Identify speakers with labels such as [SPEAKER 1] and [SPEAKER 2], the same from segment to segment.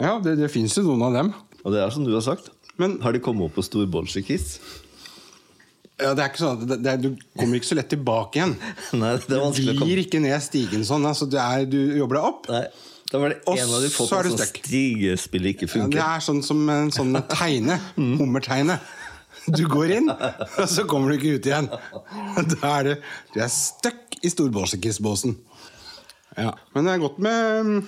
[SPEAKER 1] Ja, det, det fins jo noen av dem.
[SPEAKER 2] Og det er som du har sagt.
[SPEAKER 1] Men-
[SPEAKER 2] har de kommet opp på storbolsjekiss?
[SPEAKER 1] Ja, det er ikke sånn at det, det, er- Du kommer ikke så lett tilbake igjen.
[SPEAKER 2] Nei, det
[SPEAKER 1] Du
[SPEAKER 2] er vanskelig å
[SPEAKER 1] glir
[SPEAKER 2] komme
[SPEAKER 1] ikke ned stigen sånn. Altså, det er, du jobber deg opp.
[SPEAKER 2] Nei, Da var det
[SPEAKER 1] Og
[SPEAKER 2] en av de få
[SPEAKER 1] så er du
[SPEAKER 2] som
[SPEAKER 1] stuck.
[SPEAKER 2] stigespillet ikke
[SPEAKER 1] Ja, det
[SPEAKER 2] funker.
[SPEAKER 1] er sånn som en sånn tegne. Hummertegne. Du går inn, og så kommer du ikke ut igjen. Da er du Du er stuck i storbolsjekissbåsen. Ja. Men det er godt med mm,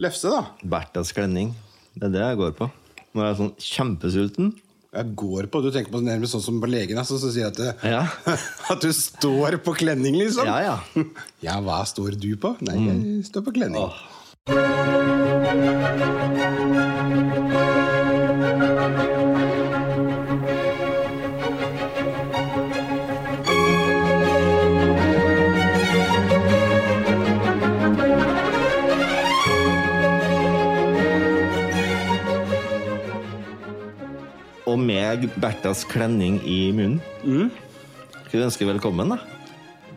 [SPEAKER 1] lefse, da.
[SPEAKER 2] Berthas klenning. Det er det jeg går på. Når jeg er sånn kjempesulten.
[SPEAKER 1] Jeg går på, Du tenker på nærmest sånn som på legen, altså, så sier jeg at, det-
[SPEAKER 2] Ja.
[SPEAKER 1] at du står på klenning, liksom.
[SPEAKER 2] Ja, ja.
[SPEAKER 1] Ja, hva står du på? Nei, jeg står på klenning.
[SPEAKER 2] Mm. Åh. Og med Berthas klenning i munnen. Skal vi ønske velkommen, da?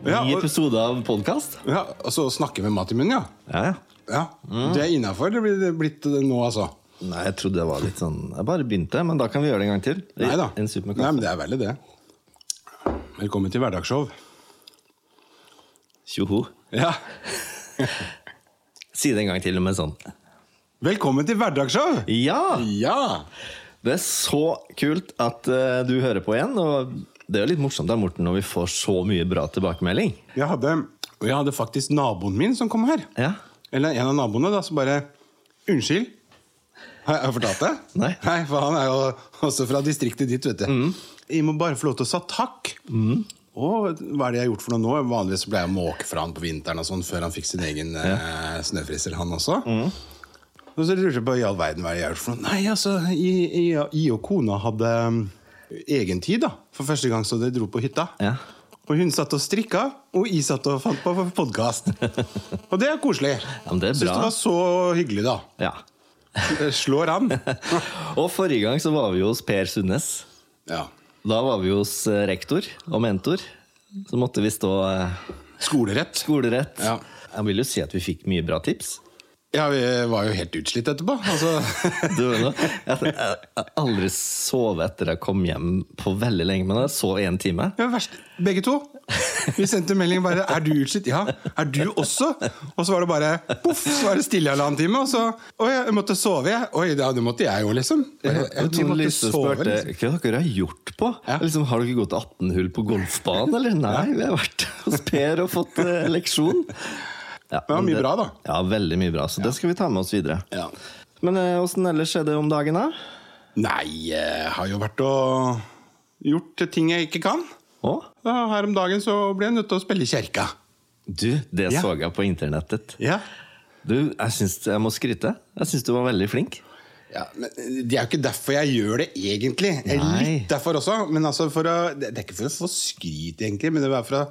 [SPEAKER 2] Ny
[SPEAKER 1] Mm. Ja, og-
[SPEAKER 2] episode av podkast.
[SPEAKER 1] Ja, og så snakke med mat i munnen, ja.
[SPEAKER 2] Ja, ja.
[SPEAKER 1] ja.
[SPEAKER 2] Mm.
[SPEAKER 1] Det er innafor det blir det blitt nå, altså.
[SPEAKER 2] Nei, jeg trodde det var litt sånn Jeg bare begynte, men da kan vi gjøre det en gang til.
[SPEAKER 1] Nei da.
[SPEAKER 2] En sup med
[SPEAKER 1] Nei,
[SPEAKER 2] kaffe.
[SPEAKER 1] men det er veldig det. Velkommen til hverdagsshow.
[SPEAKER 2] Tjoho.
[SPEAKER 1] Ja.
[SPEAKER 2] Si det en gang til med sånn.
[SPEAKER 1] Velkommen til hverdagsshow!
[SPEAKER 2] Ja!
[SPEAKER 1] Ja!
[SPEAKER 2] Det er så kult at eh, du hører på igjen. Og det er jo litt morsomt da, Morten, når vi får så mye bra tilbakemelding.
[SPEAKER 1] Jeg hadde, og jeg hadde faktisk naboen min som kom her.
[SPEAKER 2] Ja.
[SPEAKER 1] Eller en av naboene, da, som bare Unnskyld. Har jeg har jeg fortalt det?
[SPEAKER 2] Nei. Mm.
[SPEAKER 1] For han er jo også fra distriktet ditt, vet du. Jeg må bare få lov til å si takk. Og hva er det jeg har gjort for noe nå? Vanligvis pleier jeg å måke fra han på vinteren og sånn, før han fikk sin egen eh, snøfriser, han også.
[SPEAKER 2] Mm.
[SPEAKER 1] Og så lurte jeg på i all verden hva er det jeg har gjort for noe. Nei, altså, jeg, jeg, jeg og kona hadde um, egen tid, da. For første gang så de dro på hytta.
[SPEAKER 2] Ja.
[SPEAKER 1] Og hun satt og strikka, og jeg satt og fant på podkast. Og det er koselig.
[SPEAKER 2] Ja, men det er
[SPEAKER 1] Syns
[SPEAKER 2] bra.
[SPEAKER 1] det var så hyggelig, da.
[SPEAKER 2] ja.
[SPEAKER 1] Det Slår an.
[SPEAKER 2] Og forrige gang så var vi hos Per Sundnes.
[SPEAKER 1] Ja.
[SPEAKER 2] Da var vi hos eh, rektor og mentor. Så måtte vi stå eh,
[SPEAKER 1] Skolerett.
[SPEAKER 2] skolerett.
[SPEAKER 1] Ja.
[SPEAKER 2] Jeg vil jo si at vi fikk mye bra tips.
[SPEAKER 1] Ja, vi var jo helt utslitt etterpå. Altså,
[SPEAKER 2] Du vet nå, jeg jeg- jeg har aldri sovet etter jeg kom hjem på veldig lenge, men jeg sov én time.
[SPEAKER 1] det var verst. Begge to. Vi sendte melding bare 'Er du utslitt?' Ja. 'Er du også?' Og så var det bare poff, så var det stille i halvannen time. Og så 'Å, jeg måtte sove, jeg'. Oi, ja, det måtte jeg jo, liksom. Bare, jeg,
[SPEAKER 2] Og
[SPEAKER 1] jeg
[SPEAKER 2] Tone
[SPEAKER 1] måtte
[SPEAKER 2] Lise
[SPEAKER 1] sove,
[SPEAKER 2] spurte
[SPEAKER 1] liksom.
[SPEAKER 2] hva dere har gjort på.
[SPEAKER 1] Ja.
[SPEAKER 2] Liksom, har dere gått 18 hull på golfbanen, eller? Nei, vi har vært hos Per og fått eh, leksjon. Ja,
[SPEAKER 1] var
[SPEAKER 2] men
[SPEAKER 1] mye bra, da.
[SPEAKER 2] Ja, veldig mye bra. Så det skal vi ta med oss videre.
[SPEAKER 1] Ja.
[SPEAKER 2] Men eh, åssen ellers er det om dagen, da?
[SPEAKER 1] Nei, jeg har jo vært og gjort ting jeg ikke kan.
[SPEAKER 2] Å?
[SPEAKER 1] Da, her om dagen så ble jeg nødt til å spille i kjerka.
[SPEAKER 2] Du, det
[SPEAKER 1] Ja.
[SPEAKER 2] så jeg på internettet.
[SPEAKER 1] Ja.
[SPEAKER 2] Du, jeg syns jeg må skryte. Jeg syns du var veldig flink.
[SPEAKER 1] men eh, Det er jo ikke derfor jeg gjør det, egentlig. Jeg er
[SPEAKER 2] Nei.
[SPEAKER 1] Litt derfor også. Men altså for å, det det er ikke for å få skryt, egentlig, men det er for å,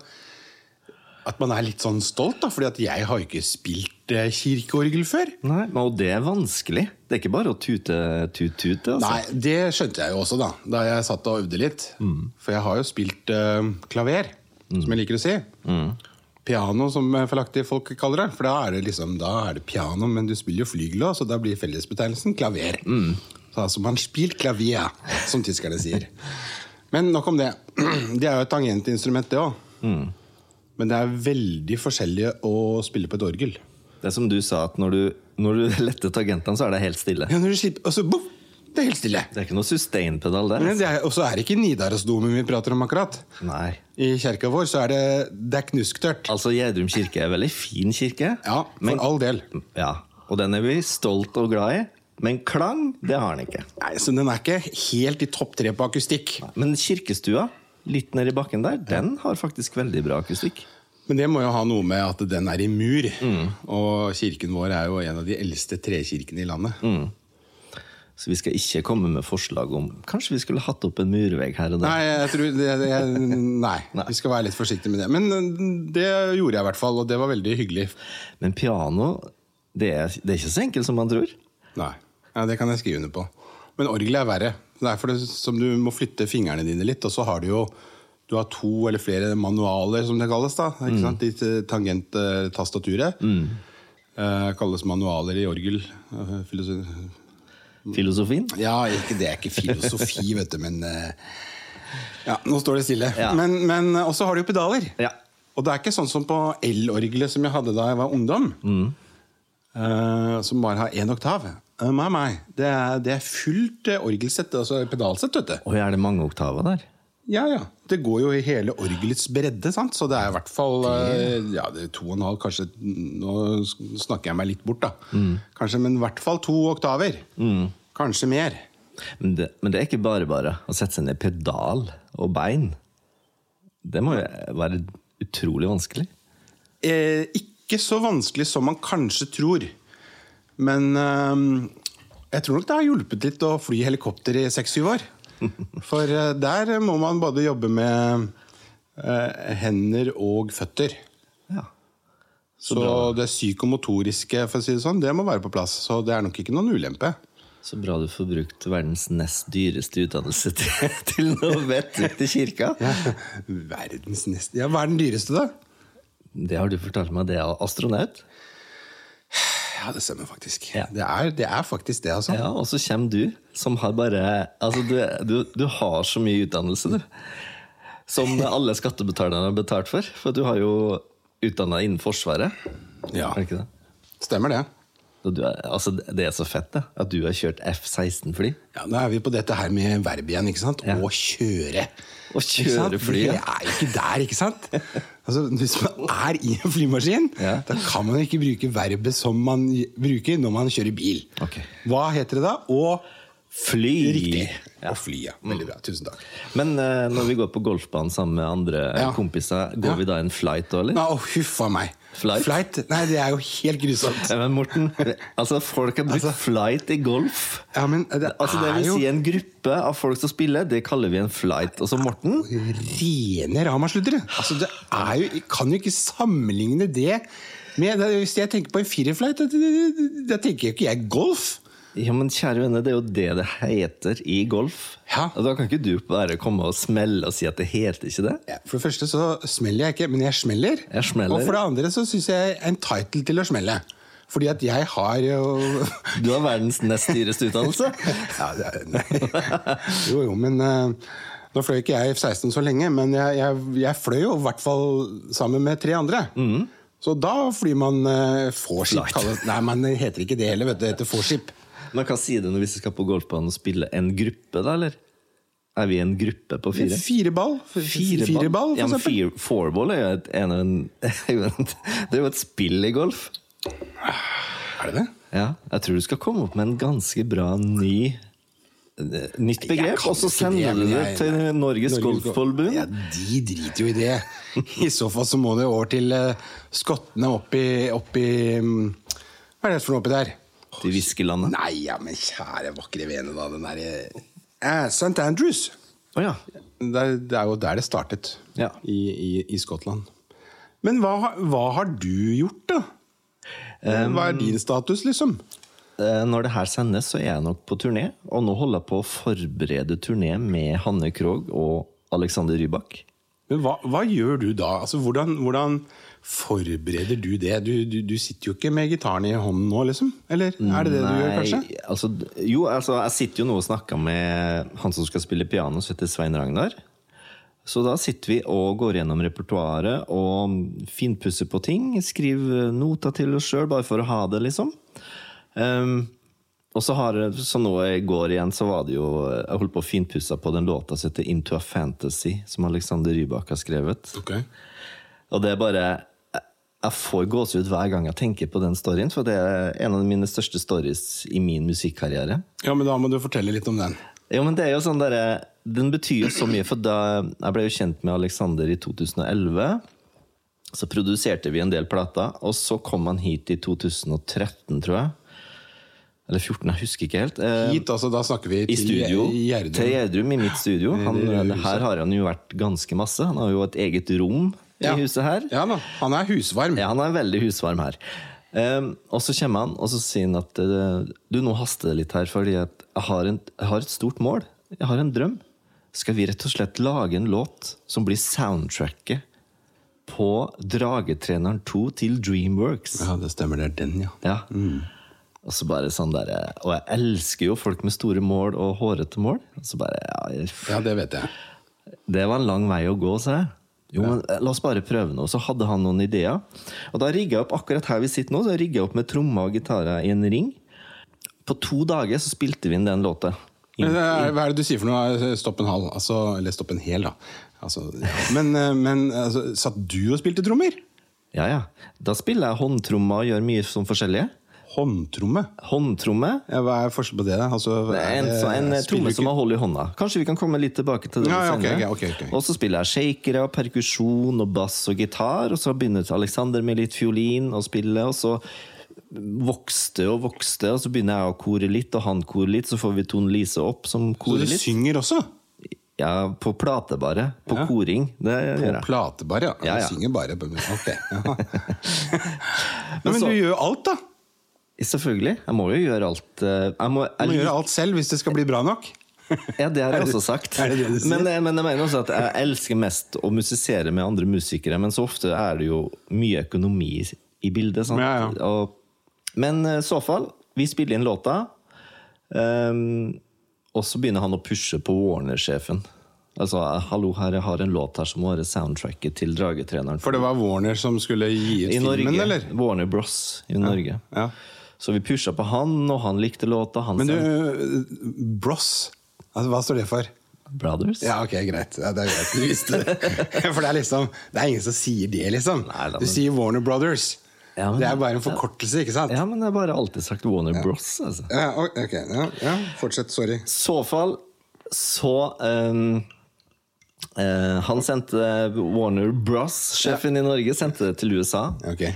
[SPEAKER 1] at man er litt sånn stolt. da, fordi at jeg har jo ikke spilt eh, kirkeorgel før.
[SPEAKER 2] Nei, men Og det er vanskelig. Det er ikke bare å tute, tute, tute. Altså.
[SPEAKER 1] Nei, det skjønte jeg jo også, da da jeg satt og øvde litt. For jeg har jo spilt eh, klaver, som jeg liker å si. Piano, som eh, feilaktige folk kaller det. For da er det liksom, da er det piano, men du spiller jo flygel òg, så da blir fellesbetegnelsen klaver. Så altså, man spilt klavier, som tyskerne sier. Men nok om det. Det er jo et tangentinstrument, det òg. Men det er veldig forskjellig å spille på et orgel.
[SPEAKER 2] Det er som du sa, at når du, når du letter tangentene, så er det helt stille.
[SPEAKER 1] Ja, når du slipper, og så boff, det er helt stille.
[SPEAKER 2] Det er ikke noe sustain-pedal der.
[SPEAKER 1] Men det er- Og så er det ikke Nidarosdomen vi prater om akkurat.
[SPEAKER 2] Nei.
[SPEAKER 1] I kjerka vår så er det, det er knusktørt.
[SPEAKER 2] Altså, Gjerdrum kirke er en veldig fin kirke.
[SPEAKER 1] Ja, for
[SPEAKER 2] men,
[SPEAKER 1] all del.
[SPEAKER 2] ja, og den er vi stolt og glad i. Men klang, det har den ikke.
[SPEAKER 1] Nei, så den er ikke helt i topp tre på akustikk.
[SPEAKER 2] Men kirkestua, litt nedi bakken der, den har faktisk veldig bra akustikk.
[SPEAKER 1] Men det må jo ha noe med at den er i mur. Og kirken vår er jo en av de eldste trekirkene i landet.
[SPEAKER 2] Så vi skal ikke komme med forslag om Kanskje vi skulle hatt opp en murvegg her og der?
[SPEAKER 1] Nei, jeg tror det, det, jeg, nei, vi skal være litt forsiktige med det. Men det gjorde jeg i hvert fall, og det var veldig hyggelig.
[SPEAKER 2] Men piano, det er, det er ikke så enkelt som man tror.
[SPEAKER 1] Nei, ja, Det kan jeg skrive under på. Men orgelet er verre. Det er for det som du må flytte fingrene dine litt, og så har du jo du har to eller Mm. flere manualer, som det kalles. da, ikke sant? I eh, tangenttastaturet. Eh, kalles manualer i orgel. eh, filoso-
[SPEAKER 2] Filosofien?
[SPEAKER 1] Ja, ikke, det er ikke filosofi, vet du, men eh, Ja, nå står det stille.
[SPEAKER 2] Ja.
[SPEAKER 1] Men, men eh, også har du jo pedaler.
[SPEAKER 2] Ja.
[SPEAKER 1] Og det er ikke sånn som på elorgelet som jeg hadde da jeg var ungdom. eh, som bare har én oktav. Eh, nei, nei. Det er, det er fullt eh, orgelsett, altså pedalsett, vet du.
[SPEAKER 2] Oi, er det mange oktaver der?
[SPEAKER 1] Ja, ja. Det går jo i hele orgelets bredde, sant? så det er i hvert fall eh, ja, det er to og en halv, kanskje Nå snakker jeg meg litt bort, da. Kanskje, Men i hvert fall to oktaver. Kanskje mer.
[SPEAKER 2] Men det, men det er ikke bare bare å sette seg ned pedal og bein. Det må jo være utrolig vanskelig.
[SPEAKER 1] Eh, ikke så vanskelig som man kanskje tror. Men eh, jeg tror nok det har hjulpet litt å fly helikopter i seks-syv år. For eh, der må man både jobbe med eh, hender og føtter.
[SPEAKER 2] Ja.
[SPEAKER 1] Så, det psykomotoriske for å si det sånn, det må være på plass. Så det er nok ikke noen ulempe.
[SPEAKER 2] Så bra du får brukt verdens nest dyreste utdannelse til, til noe vettugt til kirka.
[SPEAKER 1] Verdens neste Ja, Hva er den dyreste, da?
[SPEAKER 2] Det har du fortalt meg, det er astronaut.
[SPEAKER 1] Ja, Det stemmer faktisk.
[SPEAKER 2] Ja.
[SPEAKER 1] Det, er, det er faktisk det, altså.
[SPEAKER 2] Ja, Og så kommer du, som har bare Altså, du, du, du har så mye utdannelse, du. Som alle skattebetalerne har betalt for. For du har jo utdanna innen Forsvaret.
[SPEAKER 1] Ja.
[SPEAKER 2] Er det ikke det?
[SPEAKER 1] Stemmer det.
[SPEAKER 2] Og du er, altså, det er så fett, det. At du har kjørt F-16-fly.
[SPEAKER 1] Ja, Da er vi på dette her med verb igjen. ikke sant?
[SPEAKER 2] Ja.
[SPEAKER 1] Å kjøre.
[SPEAKER 2] Å kjøre
[SPEAKER 1] Ikke sant?
[SPEAKER 2] fly, ja.
[SPEAKER 1] Det er jo ikke der, ikke sant? Altså, Hvis man er i en flymaskin,
[SPEAKER 2] Ja.
[SPEAKER 1] da kan man ikke bruke verbet som man bruker når man kjører bil.
[SPEAKER 2] Ok.
[SPEAKER 1] Hva heter det da? Å
[SPEAKER 2] Fly! Mm.
[SPEAKER 1] Riktig. Å fly, ja. Veldig bra. Tusen takk.
[SPEAKER 2] Men eh, når vi går på golfbanen sammen med andre
[SPEAKER 1] Ja.
[SPEAKER 2] kompiser, går
[SPEAKER 1] Ja.
[SPEAKER 2] vi da en flight òg, eller?
[SPEAKER 1] Nei, Å, huff a meg.
[SPEAKER 2] Flight?
[SPEAKER 1] Nei, det er jo helt grusomt.
[SPEAKER 2] Nei, Men Eh, Morten, altså folk har brukt flight i golf.
[SPEAKER 1] Ja, men det,
[SPEAKER 2] Altså Det
[SPEAKER 1] er
[SPEAKER 2] vil
[SPEAKER 1] jo
[SPEAKER 2] si en gruppe av folk som spiller, det kaller vi en flight. Og så Morten
[SPEAKER 1] rene ramasluttere. Altså, det er jo Jeg kan jo ikke sammenligne det med det- Hvis jeg tenker på en firerflight, da- da- da- da tenker jo ikke jeg golf.
[SPEAKER 2] Ja, men kjære venner, det er jo det det heter i golf.
[SPEAKER 1] Ja.
[SPEAKER 2] Og da kan ikke du bare komme og smelle og si at det heter ikke det.
[SPEAKER 1] Ja, For det første så smeller jeg ikke, men jeg smeller.
[SPEAKER 2] Jeg smeller.
[SPEAKER 1] Og for det andre så syns jeg er entitled til å smelle. Fordi at jeg har jo
[SPEAKER 2] Du har verdens nest dyreste utdannelse.
[SPEAKER 1] Ja, det er, nei. Jo, jo, men eh, Nå fløy ikke jeg F-16 så lenge, men jeg, jeg, jeg fløy jo i hvert fall sammen med tre andre.
[SPEAKER 2] Mhm.
[SPEAKER 1] Så da flyr man uh, vorship.
[SPEAKER 2] Flight.
[SPEAKER 1] kalles- Nei, men det heter ikke det heller. vet du, Det heter vorship.
[SPEAKER 2] Men hva sier du når vi skal på golfbanen og spille en gruppe, da, eller? Er vi en gruppe på fire?
[SPEAKER 1] Fire ball. Fire ball, for
[SPEAKER 2] ja, men
[SPEAKER 1] eksempel.
[SPEAKER 2] fire, fourball er jo et, en, en, er jo en, det er jo et spill i golf.
[SPEAKER 1] Er det det?
[SPEAKER 2] Ja, jeg tror du skal komme opp med en ganske bra ny eh, Nytt
[SPEAKER 1] Jeg
[SPEAKER 2] begrep,
[SPEAKER 1] kan
[SPEAKER 2] og så
[SPEAKER 1] ikke
[SPEAKER 2] sender
[SPEAKER 1] men
[SPEAKER 2] du det
[SPEAKER 1] jeg-
[SPEAKER 2] til Norges,
[SPEAKER 1] Golf-
[SPEAKER 2] Golfforbund.
[SPEAKER 1] Ja, De driter jo i det. I så fall så må det over til eh, skottene opp i, opp i mm, Hva er det for noe oppi der?
[SPEAKER 2] Til Viskelandet.
[SPEAKER 1] Nei, ja, men kjære vakre vene, da. Den derre eh, St. Andrews.
[SPEAKER 2] Å ja.
[SPEAKER 1] Det er, det er jo der det startet,
[SPEAKER 2] Ja.
[SPEAKER 1] i, i, i Skottland. Men hva, har- hva har du gjort, da? hva er din status, liksom?
[SPEAKER 2] Eh, Når det her sendes, så er jeg nok på turné. Og nå holder jeg på å forberede turné med Hanne Krogh og Alexander Rybak.
[SPEAKER 1] Men hva, hva gjør du da? Altså, hvordan, hvordan forbereder du det? Du, du, du sitter jo ikke med gitaren i hånden nå, liksom? Eller er det det du gjør, kanskje?
[SPEAKER 2] altså, jo, altså, jeg sitter jo nå og snakker med han som skal spille piano, som heter Svein Ragnar. Så da sitter vi og går gjennom repertoaret og finpusser på ting. Skriver noter til oss sjøl, bare for å ha det, liksom. Ehm, og så har Så nå i går igjen, så var det jo Jeg holdt på å finpusse på den låta som heter Into a Fantasy, som Alexander Rybak har skrevet.
[SPEAKER 1] Ok.
[SPEAKER 2] Og det er bare jeg- Jeg får gåsehud hver gang jeg tenker på den storyen, for det er en av mine største stories i min musikkarriere.
[SPEAKER 1] Ja, men da må du fortelle litt om den.
[SPEAKER 2] Jo, men det er jo sånn derre Den betyr jo så mye, for da jeg ble jo kjent med Alexander i 2011. Så produserte vi en del plater, og så kom han hit i 2013, tror jeg. Eller 14, jeg husker ikke helt. Eh,
[SPEAKER 1] Hit, altså, da snakker vi
[SPEAKER 2] i
[SPEAKER 1] til
[SPEAKER 2] studio.
[SPEAKER 1] Gjerdrum.
[SPEAKER 2] Til Gjerdrum, i mitt studio. Han,
[SPEAKER 1] det huset.
[SPEAKER 2] her har han jo vært ganske masse. Han har jo et eget rom
[SPEAKER 1] Ja.
[SPEAKER 2] i huset her.
[SPEAKER 1] Ja da, han er husvarm.
[SPEAKER 2] Ja, han er veldig husvarm her. Ehm, og så kommer han og så sier han at eh, du, nå haster det litt her, fordi at jeg har, en, jeg har et stort mål. Jeg har en drøm. Skal vi rett og slett lage en låt som blir soundtracket på Dragetreneren 2 til Dreamworks.
[SPEAKER 1] Ja, det stemmer. Det er den, ja.
[SPEAKER 2] Ja. Og så bare sånn der, og jeg elsker jo folk med store mål og hårete mål. Og så bare, ja, jeg-
[SPEAKER 1] Ja, det vet jeg.
[SPEAKER 2] Det var en lang vei å gå, sa jeg. Jo, men eh, La oss bare prøve noe. Så hadde han noen ideer. Og da rigga jeg opp akkurat her vi sitter nå, så jeg rigget opp med trommer og gitarer i en ring. På to dager så spilte vi inn den låta.
[SPEAKER 1] Men, eh, Hva er det du sier for noe? Stopp en halv. Altså, eller stopp en hel, da. Altså, ja. Men, eh, men altså, satt du og spilte trommer?
[SPEAKER 2] Ja, ja. Da spiller jeg håndtrommer og gjør mye sånn forskjellige.
[SPEAKER 1] Håndtromme?
[SPEAKER 2] Håndtromme
[SPEAKER 1] Ja, hva er forskjellen på det? da? Altså,
[SPEAKER 2] Det er en,
[SPEAKER 1] er det-
[SPEAKER 2] så en eh,
[SPEAKER 1] spiller
[SPEAKER 2] tromme
[SPEAKER 1] du
[SPEAKER 2] som
[SPEAKER 1] ikke-
[SPEAKER 2] har hold i hånda. Kanskje vi kan komme litt tilbake til det
[SPEAKER 1] Ja, ja, ok,
[SPEAKER 2] senere.
[SPEAKER 1] ok, ok, ok.
[SPEAKER 2] Og så spiller jeg shakere, perkusjon og bass og gitar, og så begynner Alexander med litt fiolin og spille, og så vokste og vokste, og så begynner jeg å kore litt, og han korer litt, så får vi Tone Lise opp som
[SPEAKER 1] Så
[SPEAKER 2] korer
[SPEAKER 1] du
[SPEAKER 2] litt.
[SPEAKER 1] synger også?
[SPEAKER 2] Ja, på plate bare. På
[SPEAKER 1] Ja.
[SPEAKER 2] koring. Det gjør
[SPEAKER 1] På
[SPEAKER 2] jeg.
[SPEAKER 1] plate, bare? Ja.
[SPEAKER 2] Ja, ja.
[SPEAKER 1] Du synger bare. Ok. Ja. Nei, men
[SPEAKER 2] så-
[SPEAKER 1] du gjør jo alt, da.
[SPEAKER 2] Selvfølgelig. Jeg må jo gjøre alt. eh, Jeg må,
[SPEAKER 1] Du
[SPEAKER 2] jeg
[SPEAKER 1] må gjøre alt selv hvis det skal bli bra nok.
[SPEAKER 2] Ja, det har jeg også sagt.
[SPEAKER 1] er det det du sier?
[SPEAKER 2] Men, eh, men jeg mener også at jeg elsker mest å musisere med andre musikere, men så ofte er det jo mye økonomi i- i bildet. Sant?
[SPEAKER 1] Ja, ja.
[SPEAKER 2] Og, men eh, i så fall, vi spiller inn låta, ehm, og så begynner han å pushe på Warner-sjefen. Altså, hallo, her, jeg har en låt her som må være soundtracket til Dragetreneren.
[SPEAKER 1] For det var Warner som skulle gi ut
[SPEAKER 2] I Norge.
[SPEAKER 1] filmen, eller?
[SPEAKER 2] Warner Bros. i Norge.
[SPEAKER 1] Ja.
[SPEAKER 2] Så vi pusha på han, og han likte låta. Han
[SPEAKER 1] Men du,
[SPEAKER 2] sang
[SPEAKER 1] eh, Bros, altså, hva står det for?
[SPEAKER 2] Brothers.
[SPEAKER 1] Ja, ok, greit. Ja, det er greit. Du visste det. For det er liksom Det er ingen som sier det, liksom.
[SPEAKER 2] Nei, da,
[SPEAKER 1] Du
[SPEAKER 2] men-
[SPEAKER 1] sier Warner Brothers.
[SPEAKER 2] Ja, men-
[SPEAKER 1] Det er bare en forkortelse, ikke sant?
[SPEAKER 2] Ja, men jeg har bare alltid sagt Warner Bros. Altså.
[SPEAKER 1] Ja, o- ok, ja, ja. Fortsett. Sorry.
[SPEAKER 2] så fall så ehm, eh, Han sendte Warner Bros, sjefen i Norge, sendte det til USA.
[SPEAKER 1] Ok.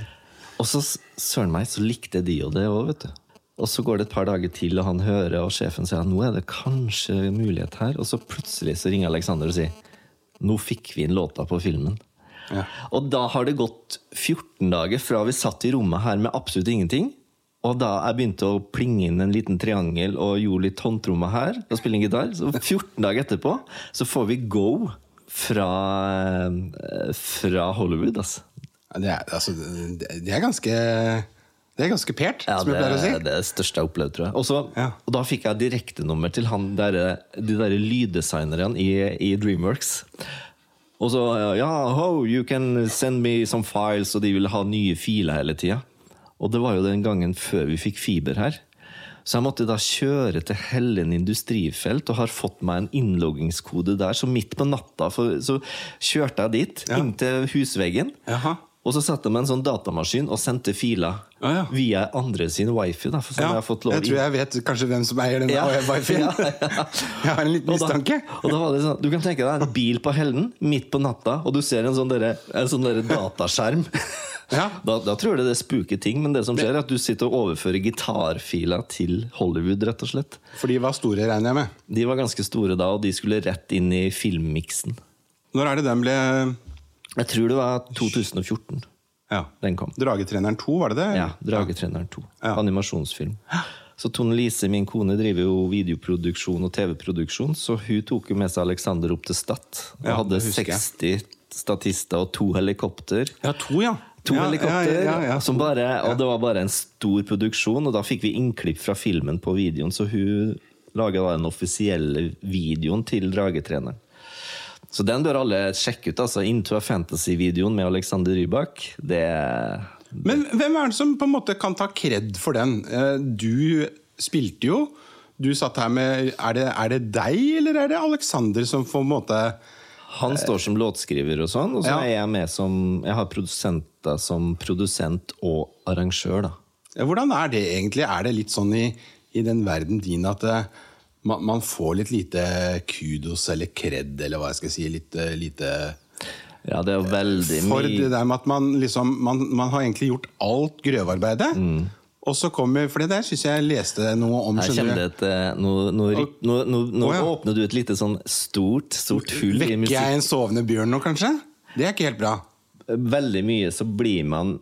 [SPEAKER 2] Og så s- søren meg, så likte de jo det òg, vet du. Og så går det et par dager til, og han hører, og sjefen sier at nå er det kanskje mulighet her. Og så plutselig så ringer Alexander og sier nå fikk vi inn låta på filmen.
[SPEAKER 1] Ja.
[SPEAKER 2] Og da har det gått 14 dager fra vi satt i rommet her med absolutt ingenting, og da jeg begynte å plinge inn en liten triangel og gjorde litt håndtromme her, og spille en gitar, så 14 dager etterpå så får vi go fra, eh, fra Hollywood, altså.
[SPEAKER 1] Ja, Det er, altså, det det er ganske Det er ganske pert,
[SPEAKER 2] Ja,
[SPEAKER 1] som jeg
[SPEAKER 2] det,
[SPEAKER 1] pleier å si.
[SPEAKER 2] det er det største jeg har opplevd, tror jeg. Og så-
[SPEAKER 1] Ja.
[SPEAKER 2] Og da fikk jeg direktenummer til han der, de derre lyddesignerne i, i Dreamworks. Og så Ja, ho, you can send me some files, og de ville ha nye filer hele tida. Og det var jo den gangen før vi fikk fiber her. Så jeg måtte da kjøre til Hellen industrifelt og har fått meg en innloggingskode der. Så midt på natta for, så kjørte jeg dit,
[SPEAKER 1] Ja.
[SPEAKER 2] inn til husveggen.
[SPEAKER 1] Jaha.
[SPEAKER 2] Og så satte de en sånn datamaskin og sendte filer
[SPEAKER 1] Å, ja.
[SPEAKER 2] via andre sin wifi. Da, for som
[SPEAKER 1] Ja,
[SPEAKER 2] jeg har fått lov
[SPEAKER 1] jeg tror jeg vet kanskje hvem som eier denne
[SPEAKER 2] Ja.
[SPEAKER 1] wifien.
[SPEAKER 2] Ja, ja.
[SPEAKER 1] Jeg har en liten
[SPEAKER 2] Og da-
[SPEAKER 1] mistanke.
[SPEAKER 2] Og da var det sånn, Du kan tenke deg en bil på Hellen midt på natta, og du ser en sånn, derre- en sånn derre dataskjerm.
[SPEAKER 1] Ja.
[SPEAKER 2] Da, da tror jeg det er spooky ting, men det som skjer, er at du sitter og overfører gitarfiler til Hollywood, rett og slett.
[SPEAKER 1] For de var store, regner jeg med.
[SPEAKER 2] De var ganske store da, og de skulle rett inn i filmmiksen.
[SPEAKER 1] Når er det den ble
[SPEAKER 2] Jeg tror det var 2014
[SPEAKER 1] ja.
[SPEAKER 2] den kom.
[SPEAKER 1] Dragetreneren 2, var det det?
[SPEAKER 2] Ja, 'Dragetreneren 2'.
[SPEAKER 1] Ja.
[SPEAKER 2] Animasjonsfilm. Så Tone Lise, min kone, driver jo videoproduksjon og TV-produksjon, så hun tok jo med seg Alexander opp til Stad. Og
[SPEAKER 1] Ja,
[SPEAKER 2] hadde
[SPEAKER 1] det husker jeg.
[SPEAKER 2] 60 statister og to helikopter.
[SPEAKER 1] Ja, to, ja.
[SPEAKER 2] To
[SPEAKER 1] ja, Ja,
[SPEAKER 2] helikopter,
[SPEAKER 1] ja, ja,
[SPEAKER 2] Som bare, og det var bare en stor produksjon, og da fikk vi innklipp fra filmen på videoen, så hun laga da den offisielle videoen til Dragetreneren. Så den bør alle sjekke ut. altså Into a Fantasy-videoen med Alexander Rybak. Det
[SPEAKER 1] Men hvem er det som på en måte kan ta kred for den? Eh, Du spilte jo. Du satt her med Er det, er det deg, eller er det Alexander som på en måte
[SPEAKER 2] Han står som låtskriver og sånn, og så
[SPEAKER 1] Ja.
[SPEAKER 2] er jeg med som Jeg har produsenter som produsent og arrangør, da.
[SPEAKER 1] Ja, eh, Hvordan er det egentlig? Er det litt sånn i, i den verden din at eh, man, man får litt lite kudos eller kred, eller hva jeg skal si? Litt eh, lite
[SPEAKER 2] Ja, det er jo veldig
[SPEAKER 1] For det
[SPEAKER 2] mye
[SPEAKER 1] der med at man liksom Man, man har egentlig gjort alt grøvearbeidet,
[SPEAKER 2] Mm.
[SPEAKER 1] og så kommer For det der syns jeg jeg leste noe om,
[SPEAKER 2] Jeg
[SPEAKER 1] skjønner
[SPEAKER 2] kjenner
[SPEAKER 1] du.
[SPEAKER 2] at eh, nå, nå, ri- nå, nå, nå
[SPEAKER 1] Å, ja.
[SPEAKER 2] åpner du et lite sånn stort, stort hull i
[SPEAKER 1] Vekker
[SPEAKER 2] musikk.
[SPEAKER 1] jeg en sovende bjørn nå, kanskje? Det er ikke helt bra.
[SPEAKER 2] Veldig mye så blir man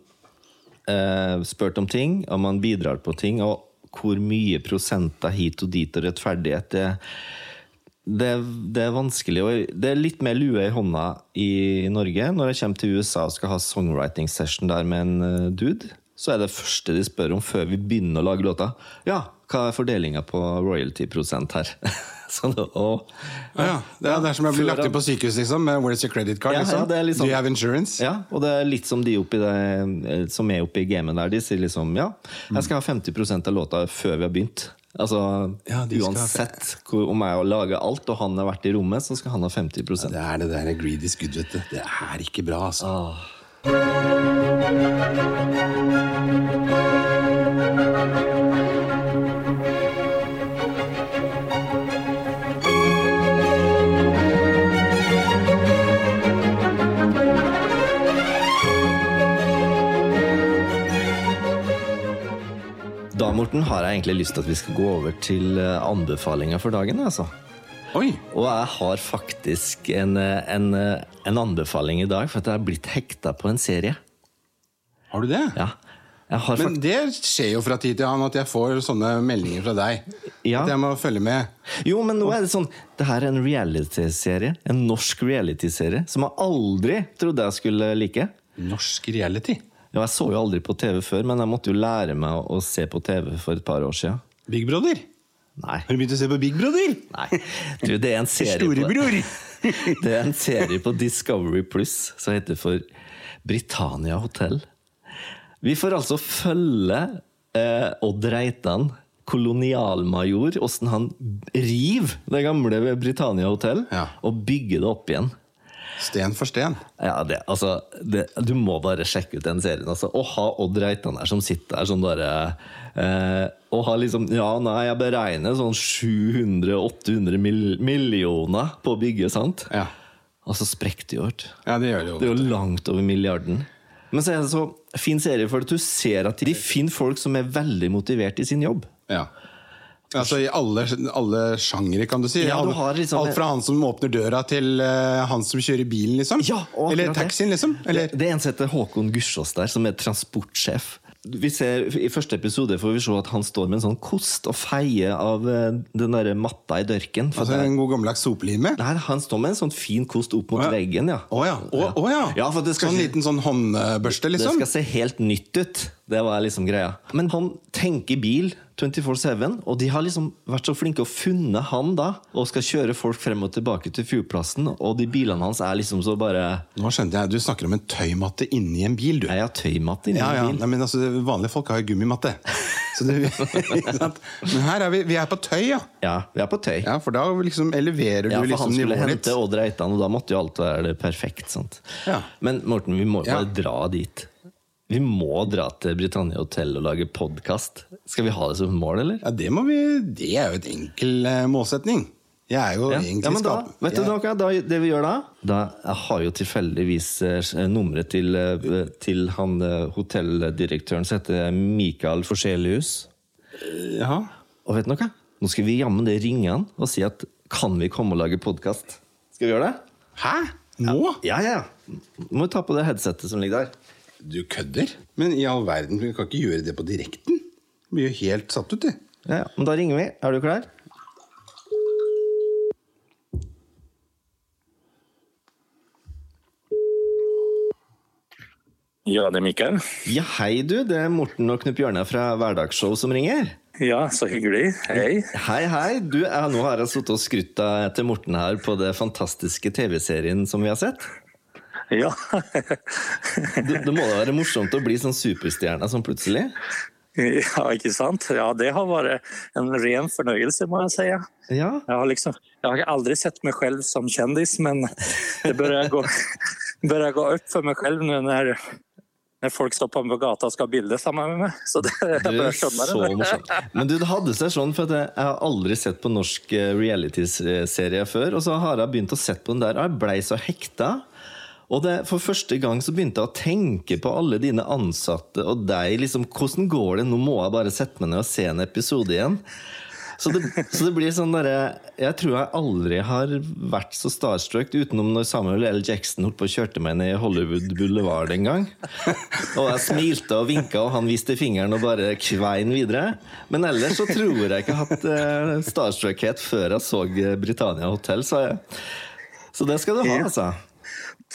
[SPEAKER 2] eh, spurt om ting, og man bidrar på ting, og hvor mye prosenter hit og dit og rettferdighet det det, det er vanskelig. Og det er litt mer lue i hånda i Norge. Når jeg kommer til USA og skal ha songwriting session der med en eh, dude, så er det første de spør om før vi begynner å lage låta, ja, hva er fordelinga på royalty-prosent her? sånn, og,
[SPEAKER 1] Ja, ja. Det, er, det er som jeg blir lagt inn på sykehus, liksom. Med where's your credit card?
[SPEAKER 2] Ja,
[SPEAKER 1] Liksom.
[SPEAKER 2] ja, det er litt sånn.
[SPEAKER 1] Do you have insurance?
[SPEAKER 2] Ja, og det er litt som de oppi det, eh, som er oppi gamet der. De sier liksom ja, jeg skal ha 50 av låta før vi har begynt. Altså,
[SPEAKER 1] Ja, de skal ha-
[SPEAKER 2] Uansett hvor, om jeg har laga alt og han har vært i rommet, så skal han ha 50
[SPEAKER 1] Det er det der greedy skudd, vet du. Det er ikke bra, altså.
[SPEAKER 2] Da Morten, har jeg egentlig lyst til at vi skal gå over til eh, anbefalinga for dagen. altså.
[SPEAKER 1] Ah. Oi!
[SPEAKER 2] Og jeg har faktisk en, eh, en, eh, en anbefaling i dag, for at jeg har blitt hekta på en serie.
[SPEAKER 1] Har du det?
[SPEAKER 2] Ja, jeg har
[SPEAKER 1] Men det skjer jo fra tid til annen at jeg får sånne meldinger fra deg.
[SPEAKER 2] Ja.
[SPEAKER 1] At jeg må følge med.
[SPEAKER 2] Jo, men nå er det sånn Det her er en reality-serie. En norsk reality-serie som jeg aldri trodde jeg skulle like.
[SPEAKER 1] Norsk reality.
[SPEAKER 2] Ja, jeg så jo aldri på TV før, men jeg måtte jo lære meg å- å se på TV for et par år siden.
[SPEAKER 1] Big Brother.
[SPEAKER 2] Nei.
[SPEAKER 1] Har du begynt å se på Big Brother?
[SPEAKER 2] Nei. Du, det er en serie på,
[SPEAKER 1] Storebror!
[SPEAKER 2] Det er en serie på Discovery Pluss som heter for Britannia Hotel. Vi får altså følge eh, Odd Reitan, kolonialmajor, åssen han river det gamle Britannia Hotel
[SPEAKER 1] Ja.
[SPEAKER 2] og bygger det opp igjen.
[SPEAKER 1] Sten for sten.
[SPEAKER 2] Ja, det, altså, det, Du må bare sjekke ut den serien. Altså. Å ha Odd Reitan der som sitter der sånn bare eh, Og ha liksom Ja, nei, jeg beregner sånn 700-800 mil millioner på å bygge, sant?
[SPEAKER 1] Ja.
[SPEAKER 2] Og så sprekker det jo. vet du.
[SPEAKER 1] Ja, det gjør det
[SPEAKER 2] Det
[SPEAKER 1] jo.
[SPEAKER 2] er jo langt over milliarden. Men så er det så fin serie, for at du ser at de finner folk som er veldig motivert i sin jobb.
[SPEAKER 1] Ja. Altså I alle, alle sjangere, kan du si.
[SPEAKER 2] Ja, du
[SPEAKER 1] Alle-
[SPEAKER 2] har liksom-
[SPEAKER 1] Alt fra han som åpner døra, til eh, han som kjører bilen, liksom.
[SPEAKER 2] Ja, og akkurat
[SPEAKER 1] Eller
[SPEAKER 2] det.
[SPEAKER 1] taxien, liksom. Eller
[SPEAKER 2] Det, det er en som heter Håkon Gussiås der, som er transportsjef. Vi ser, I første episode får vi se at han står med en sånn kost og feie av eh, den derre matta i dørken. For
[SPEAKER 1] altså, en god gammeldags sopelime.
[SPEAKER 2] det- Nei, han står med en sånn fin kost opp mot
[SPEAKER 1] Å ja.
[SPEAKER 2] veggen, ja.
[SPEAKER 1] Å ja. Å, å, ja.
[SPEAKER 2] Ja, for det skal
[SPEAKER 1] sånn
[SPEAKER 2] ikke-
[SPEAKER 1] liten sånn håndbørste,
[SPEAKER 2] Det
[SPEAKER 1] liksom?
[SPEAKER 2] skal se helt nytt ut. Det var liksom greia. Men han tenker bil 24-7, og de har liksom vært så flinke og funnet han da, og skal kjøre folk frem og tilbake til fyrplassen, og de bilene hans er liksom så bare
[SPEAKER 1] Nå skjønte jeg, Du snakker om en tøymatte inni en bil, du.
[SPEAKER 2] Jeg har tøymatt inni
[SPEAKER 1] Ja, ja.
[SPEAKER 2] bilen.
[SPEAKER 1] Nei, men altså, Vanlige folk har jo gummimatte. Så det, ikke sant? Men her er vi, vi er på tøy, ja.
[SPEAKER 2] Ja, vi er på tøy.
[SPEAKER 1] ja for da liksom eleverer du
[SPEAKER 2] Ja, for
[SPEAKER 1] liksom
[SPEAKER 2] han skulle
[SPEAKER 1] nivået
[SPEAKER 2] hente
[SPEAKER 1] ditt.
[SPEAKER 2] Odd Reitan, og da måtte jo alt være det perfekt. Sant?
[SPEAKER 1] Ja.
[SPEAKER 2] Men Morten, vi må jo
[SPEAKER 1] Ja.
[SPEAKER 2] bare dra dit. Vi må dra til Britannia Hotel og lage podkast. Skal vi ha det som mål, eller?
[SPEAKER 1] Ja, det, må vi, det er jo et enkel eh, målsetning. Jeg er jo egentlig
[SPEAKER 2] men da,
[SPEAKER 1] skap-
[SPEAKER 2] vet du
[SPEAKER 1] jeg-
[SPEAKER 2] noe? Da, det vi gjør da Da Jeg har jo tilfeldigvis eh, nummeret til, eh, til han eh, hotelldirektøren som heter Mikael Forselius.
[SPEAKER 1] Jaha.
[SPEAKER 2] Og vet du noe? Nå skal vi jammen det ringe han og si at kan vi komme og lage podkast? Skal vi gjøre det?
[SPEAKER 1] Hæ? Nå?
[SPEAKER 2] Ja, ja. Må jo ta på det headsetet som ligger der.
[SPEAKER 1] Du kødder? Men i all verden, vi kan ikke gjøre det på direkten. Vi blir jo helt satt ut, det.
[SPEAKER 2] Ja, ja. Men da ringer vi. Er du klar?
[SPEAKER 3] Ja, det er Mikael.
[SPEAKER 2] Ja, hei du. Det er Morten og Knut Bjørnar fra Hverdagsshow som ringer.
[SPEAKER 3] Ja, så hyggelig. Hei.
[SPEAKER 2] Hei, hei. Du, jeg, nå har jeg sittet og skrytt av til Morten her på det fantastiske TV-serien som vi har sett.
[SPEAKER 3] Ja.
[SPEAKER 2] Det, det må da være morsomt å bli sånn superstjerne sånn plutselig?
[SPEAKER 3] ja, ikke sant? Ja, det har vært en ren fornøyelse, må jeg si. Jeg
[SPEAKER 2] Ja.
[SPEAKER 3] har, liksom, jeg har aldri sett meg selv som kjendis, men det bør gå, bør gå opp for meg selv nå når, når folk stopper meg på gata og skal ha bilde sammen med meg. Så det, jeg
[SPEAKER 2] Du er
[SPEAKER 3] bør skjønne
[SPEAKER 2] så
[SPEAKER 3] det.
[SPEAKER 2] morsom. Men du, det hadde seg sånn, for at jeg, jeg har aldri sett på norsk eh, reality-serie før. Og så har jeg begynt å sette på den der, og jeg blei så hekta. Og det, for første gang så begynte jeg å tenke på alle dine ansatte og deg. liksom, Hvordan går det? Nå må jeg bare sette meg ned og se en episode igjen. Så det, så det blir sånn derre Jeg tror jeg aldri har vært så starstruck utenom når Samuel L. Jackson holdt på og kjørte meg ned i Hollywood Boulevard en gang. Og jeg smilte og vinka, og han viste fingeren og bare kvein videre. Men ellers så tror jeg ikke jeg har hatt eh, starstruckhet før jeg så eh, Britannia Hotel, sa jeg. Så det skal du ha, altså.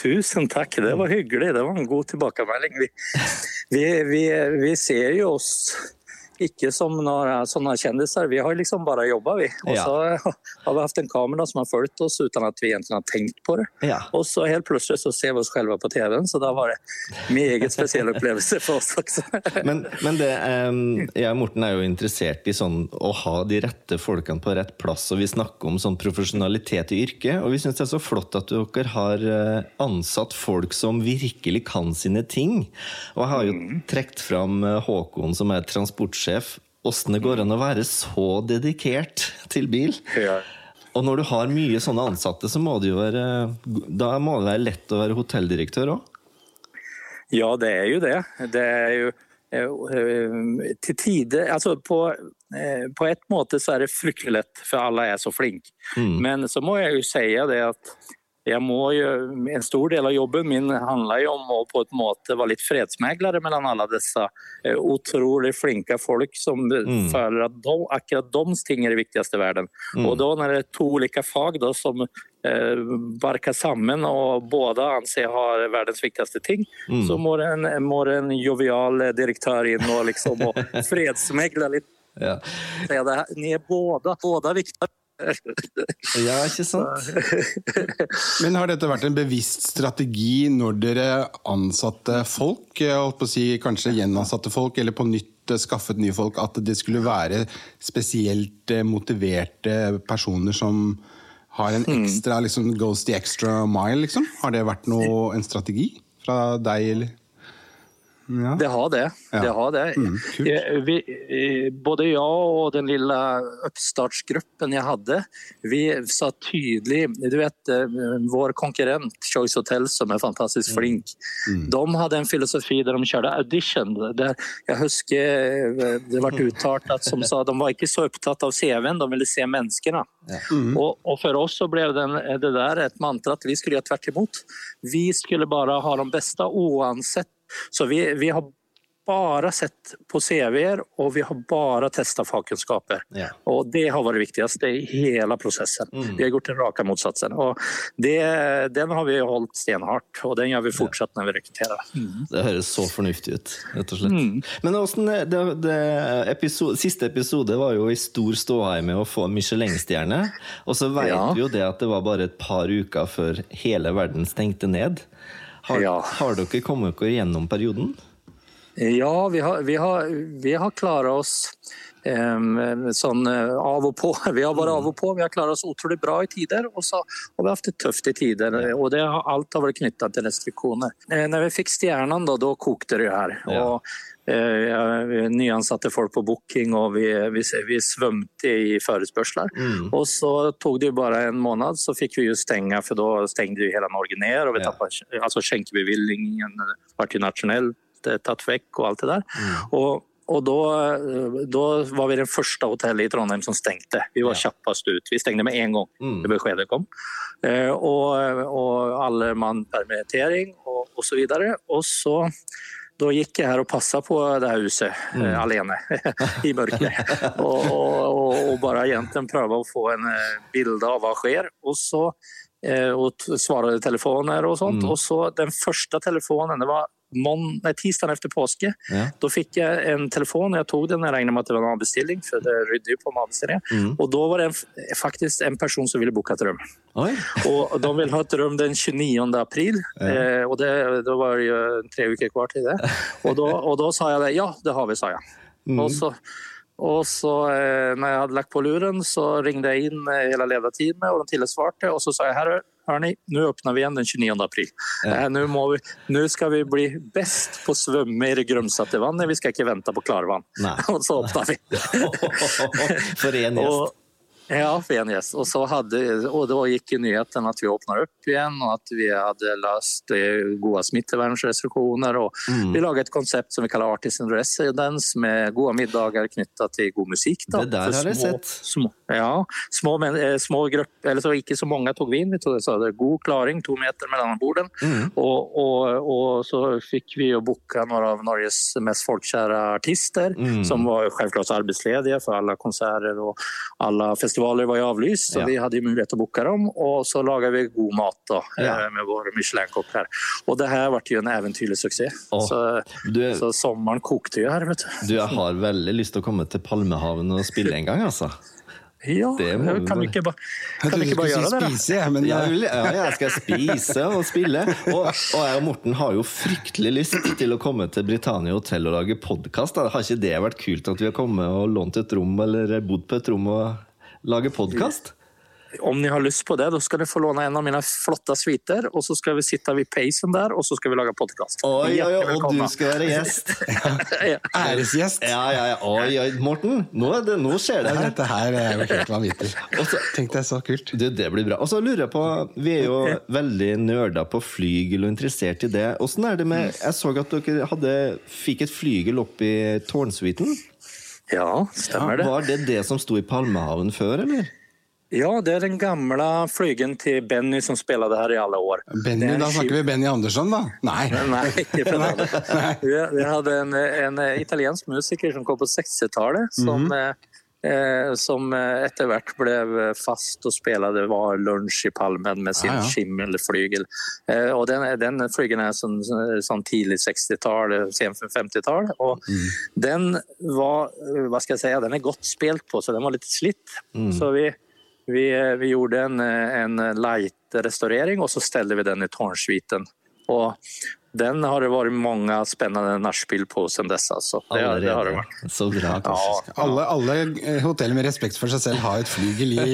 [SPEAKER 3] Tusen takk, det var hyggelig. Det var en god tilbakemelding. Vi, vi, vi, vi ser jo oss ikke som noen sånne kjendiser, vi har liksom bare jobba, vi. Og så har vi hatt en kamera som har fulgt oss uten at vi egentlig har tenkt på det.
[SPEAKER 2] Ja.
[SPEAKER 3] Og så helt plutselig så ser vi oss selv på TV-en, så da var det meget spesiell opplevelse for oss også.
[SPEAKER 2] Men, men det, em, jeg og Morten er jo interessert i sånn, å ha de rette folkene på rett plass. Og vi snakker om sånn profesjonalitet i yrket. Og vi syns det er så flott at dere har eh, ansatt folk som virkelig kan sine ting. Og jeg har jo trukket fram eh, Håkon, som er transportsjef. Åssen det går an å være så dedikert til bil.
[SPEAKER 3] Ja.
[SPEAKER 2] Og når du har mye sånne ansatte, så må det jo være, eh, da må det være lett å være hotelldirektør òg.
[SPEAKER 3] Ja, det er jo det. Det er jo eh, eh, til tide Altså på, eh, på et måte så er det fryktelig lett, for alle er så flinke. Men så må jeg jo si det at jeg må jo, en stor del av jobben min handler jo om å på et måte være litt fredsmeglere mellom alle disse eh, utrolig flinke folk som føler at de, akkurat deres ting er det viktigste i verden.
[SPEAKER 1] Mm.
[SPEAKER 3] Og da når det er to ulike fag da, som eh, barker sammen og både anser har verdens viktigste ting,
[SPEAKER 1] Mm.
[SPEAKER 3] så må det en, må det en jovial eh, direktør inn og liksom og fredsmegle litt.
[SPEAKER 2] Ja.
[SPEAKER 3] Se det her. Ni er båda, båda viktige.
[SPEAKER 2] ja, ikke sant?
[SPEAKER 1] Men har dette vært en bevisst strategi når dere ansatte folk? eh, Jeg holdt på å si kanskje gjenansatte folk, eller på nytt eh, skaffet nye folk? At det skulle være spesielt eh, motiverte personer som har en
[SPEAKER 3] Hmm.
[SPEAKER 1] ekstra liksom, Goes the extra mile, liksom? Har det vært noe, en strategi fra deg, eller? Ja.
[SPEAKER 3] Det har det.
[SPEAKER 1] Ja.
[SPEAKER 3] det, har det.
[SPEAKER 1] Mm, kult.
[SPEAKER 3] Eh, vi, eh, både jeg og den lille oppstartsgruppen jeg hadde, vi sa tydelig Du vet eh, vår konkurrent Choice Hotel, som er fantastisk
[SPEAKER 1] Mm.
[SPEAKER 3] flink, de hadde en filosofi der de kjørte audition. Der jeg husker eh, det ble uttalt at som sa de var ikke så opptatt av CV-en, de ville se menneskene. Og, og for oss så ble den, eh, det der et mantra at vi skulle gjøre tvert imot. Vi skulle bare ha de beste uansett. Så vi, vi har bare sett på CV-er, og vi har bare testa fagkunnskaper.
[SPEAKER 2] Ja.
[SPEAKER 3] Og det har vært det viktigste i hele prosessen. Vi har gjort den rake motsatsen. Og det, den har vi holdt stenhardt, og den gjør vi fortsatt når vi rekrutterer.
[SPEAKER 2] Det høres så fornuftig ut, rett og slett.
[SPEAKER 3] Mm.
[SPEAKER 2] Men åssen det, det episo- Siste episode var jo i stor ståhei med å få Michelin-stjerne. Og så vet
[SPEAKER 3] Ja.
[SPEAKER 2] vi jo det at det var bare et par uker før hele verden stengte ned. Har,
[SPEAKER 3] Ja.
[SPEAKER 2] har dere kommet dere gjennom perioden?
[SPEAKER 3] Ja, vi har, vi har, vi har klart oss eh, sånn eh, av og på. Vi har vært av og på. Vi har klart oss utrolig bra i tider, og så har vi hatt det tøft i tider. Og det, har- alt har vært knytta til restriksjoner. Eh, når vi fikk stjernen, da, da kokte det jo her.
[SPEAKER 2] Ja.
[SPEAKER 3] Og eh, ja, vi nyansatte folk på booking, og vi, vi, vi svømte i forespørsler.
[SPEAKER 2] Mm.
[SPEAKER 3] Og så tok det jo bare en måned, så fikk vi jo stenge, for da stengte jo hele Norge ned. og vi
[SPEAKER 2] Ja.
[SPEAKER 3] tappet, altså Skjenkebevilgningen ble jo nasjonelt eh, tatt vekk og alt det der.
[SPEAKER 2] Mm.
[SPEAKER 3] Og, og da, eh, da var vi det første hotellet i Trondheim som stengte. Vi var kjappest ut. Vi stengte med en gang
[SPEAKER 2] Mm.
[SPEAKER 3] da beskedet kom. Eh, Og, og alle mann permittering og, og så videre. Og så da gikk jeg her og passa på det her huset eh, alene i mørket. og, og, og, og bare egentlig prøve å få en eh, bilde av hva skjer. Og så eh, og t- svarte telefoner og sånt. Og så den første telefonen, det var mån- nei, tirsdagen etter påske.
[SPEAKER 2] Ja.
[SPEAKER 3] Da fikk jeg en telefon, jeg tok den, jeg regnet med at det var en avbestilling, for det rydder jo på med avbestillinger.
[SPEAKER 2] Mm.
[SPEAKER 3] Og da var det en, f- faktisk en person som ville booke et rom.
[SPEAKER 2] Oi!
[SPEAKER 3] Og de vil ha et rom den 29. april, eh, og det, da var det jo tre uker kvar til det. Og da, og da sa jeg det. Ja, det har vi, sa jeg.
[SPEAKER 2] Mm.
[SPEAKER 3] Og så, og så eh, når jeg hadde lagt på luren, så ringte jeg inn eh, hele lederteamet, og de tilsvarte, og så sa jeg herre, Hörni, nå åpner vi igjen den 29. april. Eh, Nå må vi- nå skal vi bli best på å svømme i det grumsete vannet. Vi skal ikke vente på klarvann.
[SPEAKER 2] Nei.
[SPEAKER 3] Og så åpna vi.
[SPEAKER 2] For én gjest.
[SPEAKER 3] Og, Ja, fen gjest. Og, så hadde, og da gikk nyheten at vi åpna opp igjen, og at vi hadde løst eh, gode smittevernrestriksjoner. Og
[SPEAKER 2] Mm.
[SPEAKER 3] vi laga et konsept som vi kaller Artist in Residence, med gode middager knytta til god musikk. Da.
[SPEAKER 2] Det der
[SPEAKER 3] For
[SPEAKER 2] har jeg
[SPEAKER 3] små-
[SPEAKER 2] sett.
[SPEAKER 3] Små, ja, små, men, eh, små grupper, eller så ikke så mange tok vi inn. Vi tog, så hadde god klaring, to meter mellom bordene.
[SPEAKER 2] Mm.
[SPEAKER 3] Og, og, og så fikk vi jo booka noen av Norges mest folkkjære artister,
[SPEAKER 2] Mm.
[SPEAKER 3] som var jo selvklart arbeidsledige, for alle konserter og alle festivaler var jo avlyst, så
[SPEAKER 2] Ja.
[SPEAKER 3] vi hadde jo mulighet til å booke dem. Og så laga vi god mat da,
[SPEAKER 2] Ja.
[SPEAKER 3] eh, med våre Michelin-kokker. Og det her ble jo en eventyrlig suksess.
[SPEAKER 2] Åh,
[SPEAKER 3] Så,
[SPEAKER 2] du-
[SPEAKER 3] så sommeren kokte jo her, vet du.
[SPEAKER 2] Du, jeg har veldig lyst til å komme til Palmehaven og spille en gang, altså.
[SPEAKER 3] Ja,
[SPEAKER 2] Det må vi
[SPEAKER 3] kan vi
[SPEAKER 2] bare-
[SPEAKER 3] ikke bare,
[SPEAKER 1] Jeg
[SPEAKER 3] kan
[SPEAKER 1] trodde
[SPEAKER 3] vi
[SPEAKER 1] du
[SPEAKER 3] ikke bare
[SPEAKER 1] skulle
[SPEAKER 3] gjøre det,
[SPEAKER 1] si
[SPEAKER 3] da?
[SPEAKER 1] spise, jeg, men eh,
[SPEAKER 2] Ja,
[SPEAKER 1] jeg-
[SPEAKER 2] jeg, ja, jeg skal spise og spille. Og, og jeg og Morten har jo fryktelig lyst til å komme til Britannia Hotel og lage podkast. Har ikke det vært kult at vi har kommet og lånt et rom, eller bodd på et rom og lage podkast?
[SPEAKER 3] Om ni har lyst på det, da skal ni få låne en av mine flotte suiter, og så skal vi sitte ved peisen der, og så skal vi lage podkast.
[SPEAKER 2] Oi, oi, oi, og du skal være gjest!
[SPEAKER 1] Æresgjest.
[SPEAKER 2] Ja, ja, ja. Oi, oi, Morten! Nå, er det, nå skjer
[SPEAKER 1] Ja,
[SPEAKER 2] det her.
[SPEAKER 1] Dette her er jo helt vanvittig. Tenk deg så kult.
[SPEAKER 2] Du, det blir bra. Og så lurer jeg på, Vi er jo veldig nerda på flygel og interessert i det. Åssen er det med Jeg så at dere hadde, fikk et flygel opp i tårnsuiten.
[SPEAKER 3] Ja, stemmer det.
[SPEAKER 2] Var det det som sto i Palmehaven før, eller?
[SPEAKER 3] Ja, det er den gamle flygen til Benny som spilte her i alle år.
[SPEAKER 1] Benny, da snakker vi Benny Andersson, da? Nei.
[SPEAKER 3] Nei, ikke fra det. Vi, vi hadde en, en italiensk musiker som kom på 60-tallet, som,
[SPEAKER 1] Mhm.
[SPEAKER 3] eh, som eh, etter hvert ble fast og spilte var lunsj i Palmen med sin
[SPEAKER 1] Ah, ja.
[SPEAKER 3] skimmelflygel. Eh, og den, den flygen er sånn, sånn tidlig 60-tall, sent 50-tall. Og
[SPEAKER 1] Mm.
[SPEAKER 3] den var, eh, hva skal jeg si, den er godt spilt på, så den var litt slitt.
[SPEAKER 1] Mm.
[SPEAKER 3] Så vi vi, eh, vi gjorde en, en light-restaurering, og så ställde vi den i tårnsviten. Og den har det vært mange spennende nachspiel på siden dess. Altså. Det, har- det har det vært.
[SPEAKER 2] Så altså. bra.
[SPEAKER 3] Ja.
[SPEAKER 1] Alle, alle eh, hotell med respekt for seg selv har et flygel i,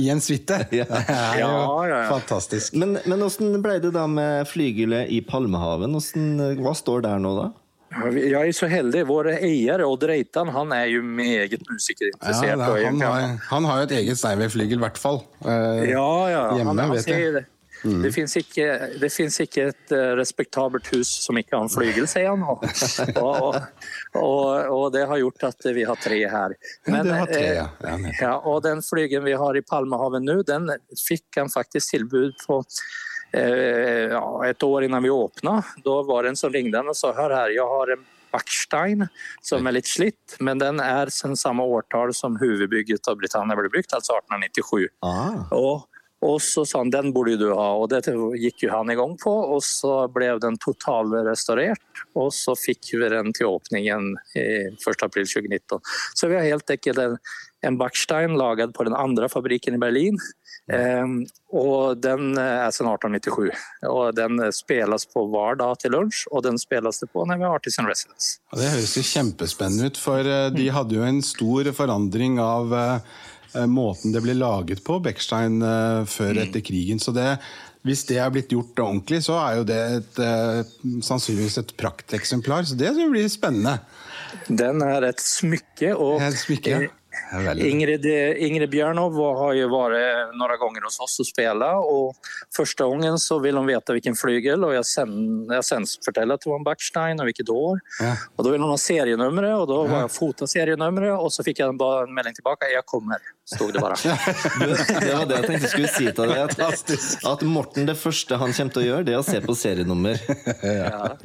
[SPEAKER 1] i en suite. Det er jo
[SPEAKER 3] Ja, ja, ja.
[SPEAKER 1] fantastisk.
[SPEAKER 2] Men, men åssen ble det da med flygelet i Palmehaven? Hvordan- hva står der nå, da?
[SPEAKER 3] Jeg er så heldig. Vår eier, Odd Reitan, han er jo meget
[SPEAKER 1] Ja,
[SPEAKER 3] musikerinteressert.
[SPEAKER 1] det er,
[SPEAKER 3] og
[SPEAKER 1] han,
[SPEAKER 3] egentlig-
[SPEAKER 1] har, han har jo et eget Steinway-flygel, i hvert fall. Eh,
[SPEAKER 3] Ja, ja.
[SPEAKER 1] Hjemme,
[SPEAKER 3] han, han
[SPEAKER 1] vet jeg. Mm.
[SPEAKER 3] sier det. Det fins ikke, det finnes ikke et eh, respektabelt hus som ikke har en flygel, sier han. Og, og, og, og det har gjort at vi har tre her.
[SPEAKER 1] du har tre,
[SPEAKER 3] eh,
[SPEAKER 1] ja. Ja, nettopp.
[SPEAKER 3] ja, og den flygen vi har i Palmehaven nå, den fikk han faktisk tilbud på eh, ja, et år innan vi åpna. Da var det en som ringte han og sa hør her, jeg har en Backstein som er litt slitt, men den er sen samme årtall som hovedbygget av Britannia ble bygd, altså 1897.
[SPEAKER 2] Ah,
[SPEAKER 3] Og, og så sa han den burde du ha, og det gikk jo han i gang på. Og så ble den totalrestaurert, og så fikk vi den til åpningen eh, 1.4.2019. Så vi har helt enkelt en, en Backstein laget på den andre fabrikken i Berlin. Ehm, og den eh, er siden 1897. Og den eh, spilles på hver dag til lunsj, og den spilles det på når vi har Artisan Residence.
[SPEAKER 1] Ja, Det høres jo kjempespennende ut, for eh, de hadde jo en stor forandring av eh, eh, måten det ble laget på, Beckstein, eh, før etter krigen. Så det, hvis det er blitt gjort ordentlig, så er jo det et, eh, sannsynligvis et prakteksemplar. Så det blir spennende.
[SPEAKER 3] Den er et smykke. og...
[SPEAKER 1] Et smykke.
[SPEAKER 3] eh,
[SPEAKER 1] Ja, veldig.
[SPEAKER 3] Ingrid, eh, Ingrid Bjørnov har ju varit några gånger hos oss och spelat och första gången så vill hon veta vilken flygel och jag sen, jag sen fortäller att det var en Backstein och vilket år.
[SPEAKER 1] Ja.
[SPEAKER 3] Och då vill hon ha serienumret och då var jag fota serienumret och så fick jag bara en mejling tillbaka. Jag kommer, stod det bara.
[SPEAKER 2] du, det var det jeg tenkte jeg skulle si til deg. At, at Morten, det første han kommer til å gjøre, det er å se på serienummer.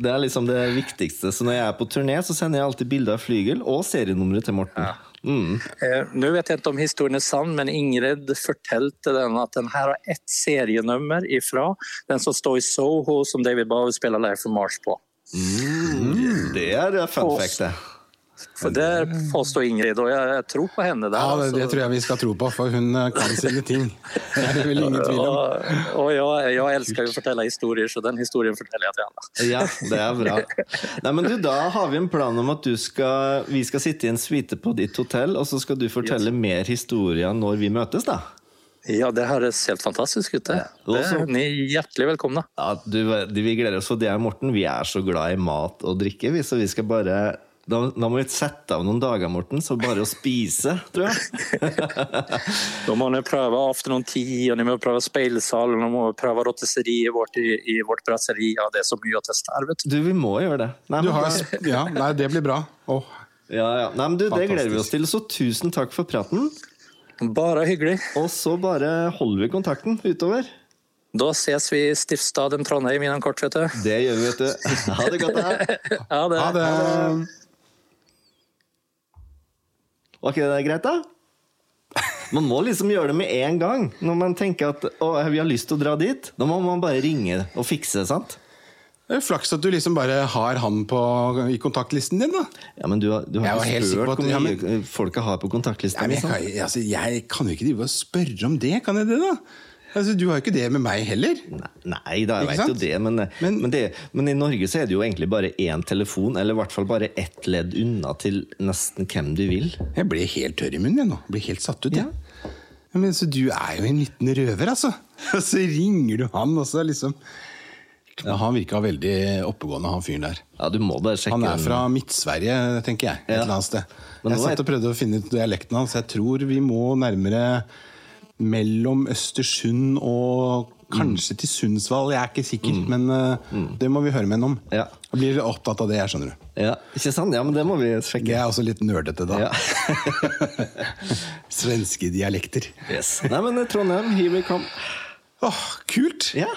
[SPEAKER 2] Det er liksom det viktigste. Så når jeg er på turné, så sender jeg alltid bilde av flygel og serienummeret til Morten. Mm.
[SPEAKER 3] Eh, nu vet jag inte om historien är sann, men Ingrid fortällde den att den här har ett serienummer ifrån den som står i Soho som David Bowie spelar Life from Mars på.
[SPEAKER 2] Det er fun fact, det.
[SPEAKER 3] För där påstår Ingrid och jag, jag tror på henne altså. där.
[SPEAKER 1] Ja, det,
[SPEAKER 3] alltså.
[SPEAKER 1] det tror jeg vi skal tro på, for hun eh, kan sine ting. Det er det vel ingen tvil om.
[SPEAKER 3] Og, og jeg, jeg elsker jo å fortelle historier, så den historien forteller jeg til alle.
[SPEAKER 2] Ja, det er bra. Nei, men du, Da har vi en plan om at du skal, vi skal sitte i en suite på ditt hotell, og så skal du fortelle mer historier når vi møtes, da.
[SPEAKER 3] Ja, det høres helt fantastisk ut. Det. Det,
[SPEAKER 2] også-
[SPEAKER 3] ni er hjertelig velkomne.
[SPEAKER 2] Ja, du, du, vi gleder oss, for det er Morten. Vi er så glad i mat og drikke, vi, så vi skal bare Da, da må vi sette av noen dager, Morten, så bare å spise, tror jeg.
[SPEAKER 3] Da må ni prøve afternoon tea, og ni må prøve speilsal, og ni må prøve rotisserie vårt i, i vårt brasseri. Ja, det er så mye å teste her, vet du.
[SPEAKER 2] Du, vi må gjøre det. Nei,
[SPEAKER 1] Du
[SPEAKER 2] men
[SPEAKER 1] har,
[SPEAKER 2] da-
[SPEAKER 1] sp- ja, nei, det blir bra. Åh,
[SPEAKER 2] ja, ja. Nei, men du, det gleder vi
[SPEAKER 1] Fantastisk.
[SPEAKER 2] oss til. Så tusen takk for praten.
[SPEAKER 3] Bare hyggelig.
[SPEAKER 2] Og så bare holder vi kontakten utover.
[SPEAKER 3] Da ses vi i Stiftsstaden Trondheim innen kort, vet du.
[SPEAKER 2] Det gjør vi, vet du. Ha det godt. Da.
[SPEAKER 3] Ja, det.
[SPEAKER 1] ha det!
[SPEAKER 2] Var ikke det greit, da? Man må liksom gjøre det med en gang. Når man tenker at å, vi har lyst til å dra dit, da må man bare ringe og fikse det. sant?
[SPEAKER 1] Det er Flaks at du liksom bare har han på, i kontaktlisten din, da.
[SPEAKER 2] Ja, men Du, har- du
[SPEAKER 1] Jeg
[SPEAKER 2] har
[SPEAKER 1] var
[SPEAKER 2] ikke
[SPEAKER 1] helt sikker
[SPEAKER 2] spurt
[SPEAKER 1] på at-
[SPEAKER 2] hvor mye
[SPEAKER 1] ja,
[SPEAKER 2] eh, folket har på kontaktlista.
[SPEAKER 1] Nei, men jeg,
[SPEAKER 2] liksom.
[SPEAKER 1] kan, altså, jeg kan jo ikke drive og spørre om det, kan jeg det, da? Altså, du har jo ikke det med meg heller.
[SPEAKER 2] Nei da, jeg
[SPEAKER 1] Ikke
[SPEAKER 2] veit jo
[SPEAKER 1] sant?
[SPEAKER 2] det men, men,
[SPEAKER 1] Men-
[SPEAKER 2] det. men i Norge så er det jo egentlig bare én telefon, eller i hvert fall bare ett ledd unna til nesten hvem du vil.
[SPEAKER 1] Jeg ble helt tørr i munnen jeg nå. Ble helt satt ut, jeg. Ja. Men så du er jo en liten røver, altså. Og så ringer du han, og så liksom ja, Han virka veldig oppegående, han fyren der.
[SPEAKER 2] Ja, du må bare sjekke
[SPEAKER 1] Han er
[SPEAKER 2] den.
[SPEAKER 1] fra Midt-Sverige, tenker jeg. Et
[SPEAKER 2] Ja.
[SPEAKER 1] eller annet sted.
[SPEAKER 2] Men
[SPEAKER 1] Jeg
[SPEAKER 2] nå
[SPEAKER 1] satt
[SPEAKER 2] er-
[SPEAKER 1] og prøvde å finne ut dialekten hans. Jeg tror vi må nærmere mellom Østersund og kanskje til Sundsvall. Jeg er ikke sikker, men eh, det må vi høre med henne om.
[SPEAKER 2] Mm. Ja.
[SPEAKER 1] Jeg blir opptatt av det, jeg skjønner du.
[SPEAKER 2] Ja, ikke sant? Ja, men det må vi sjekke.
[SPEAKER 1] Jeg er også litt nerdete, da.
[SPEAKER 2] Ja.
[SPEAKER 1] Svenske dialekter.
[SPEAKER 2] Yes. Nei, men eh, Trondheim, here we come.
[SPEAKER 1] Åh, kult!
[SPEAKER 2] Ja.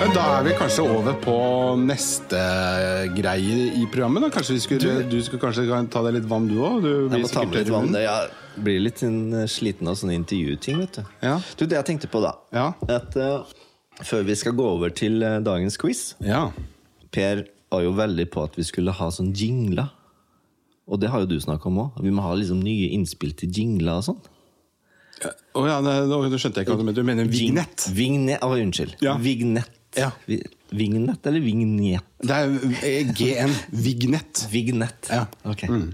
[SPEAKER 1] Men Da er vi kanskje over på neste greie i programmet. Da. Kanskje vi skulle, du, skulle kanskje ta deg litt vann, du òg? Du
[SPEAKER 2] Jeg
[SPEAKER 1] blir
[SPEAKER 2] må ta med
[SPEAKER 1] sikkert
[SPEAKER 2] litt
[SPEAKER 1] tørr i
[SPEAKER 2] vann.
[SPEAKER 1] munnen.
[SPEAKER 2] Jeg blir litt eh, sliten av sånne intervjuting, vet du.
[SPEAKER 1] Ja.
[SPEAKER 2] Du, det jeg tenkte på da,
[SPEAKER 1] Ja.
[SPEAKER 2] at eh, før vi skal gå over til eh, dagens quiz
[SPEAKER 1] Ja.
[SPEAKER 2] Per var jo veldig på at vi skulle ha sånn jingler. Og det har jo du snakka om òg. Vi må ha liksom nye innspill til jingler og sånn.
[SPEAKER 1] Å ja, nei, nå nå skjønte jeg ikke hva du mente. Du mener vignett?
[SPEAKER 2] Vignett, å, Unnskyld.
[SPEAKER 1] Ja.
[SPEAKER 2] Vignett.
[SPEAKER 1] Ja.
[SPEAKER 2] Vi- Vignett eller vignett?
[SPEAKER 1] Det er eh, GN. Vignett.
[SPEAKER 2] Vignett.
[SPEAKER 1] Ja.
[SPEAKER 2] Ok.
[SPEAKER 1] Mm.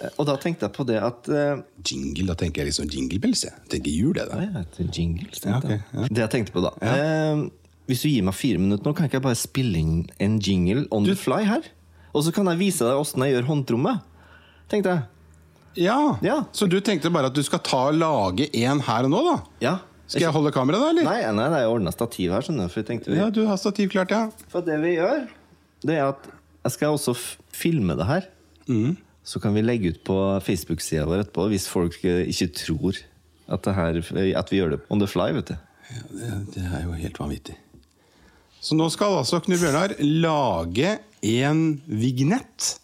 [SPEAKER 2] Eh, Og da tenkte jeg på det at eh,
[SPEAKER 1] Jingle, da tenker jeg liksom jinglebells. Jeg tenker jul, jeg,
[SPEAKER 2] Å
[SPEAKER 1] da.
[SPEAKER 2] ja, det er jingles,
[SPEAKER 1] Ja,
[SPEAKER 2] tenkte jeg.
[SPEAKER 1] ok, ja.
[SPEAKER 2] Det jeg tenkte på, da. Eh, hvis du gir meg fire minutter nå, kan ikke jeg bare spille inn en jingle on the fly her? Og så kan jeg vise deg åssen jeg gjør håndtrommet. Tenkte jeg.
[SPEAKER 1] Ja.
[SPEAKER 2] Ja.
[SPEAKER 1] Så du tenkte bare at du skal ta og lage en her og nå, da?
[SPEAKER 2] Ja.
[SPEAKER 1] Skal jeg holde kameraet, da, eller?
[SPEAKER 2] Nei, nei, det er jo ordna stativ her, skjønner du. For, jeg tenkte vi,
[SPEAKER 1] Ja, du har stativ klart, ja.
[SPEAKER 2] for det vi gjør, det er at jeg skal også f filme det her.
[SPEAKER 1] Mm.
[SPEAKER 2] Så kan vi legge ut på Facebook-sida vår etterpå, hvis folk eh, ikke tror at, det her, at vi gjør det on the fly, vet du.
[SPEAKER 1] Det, det er jo helt vanvittig. Så nå skal altså Knut Bjørnar lage en vignett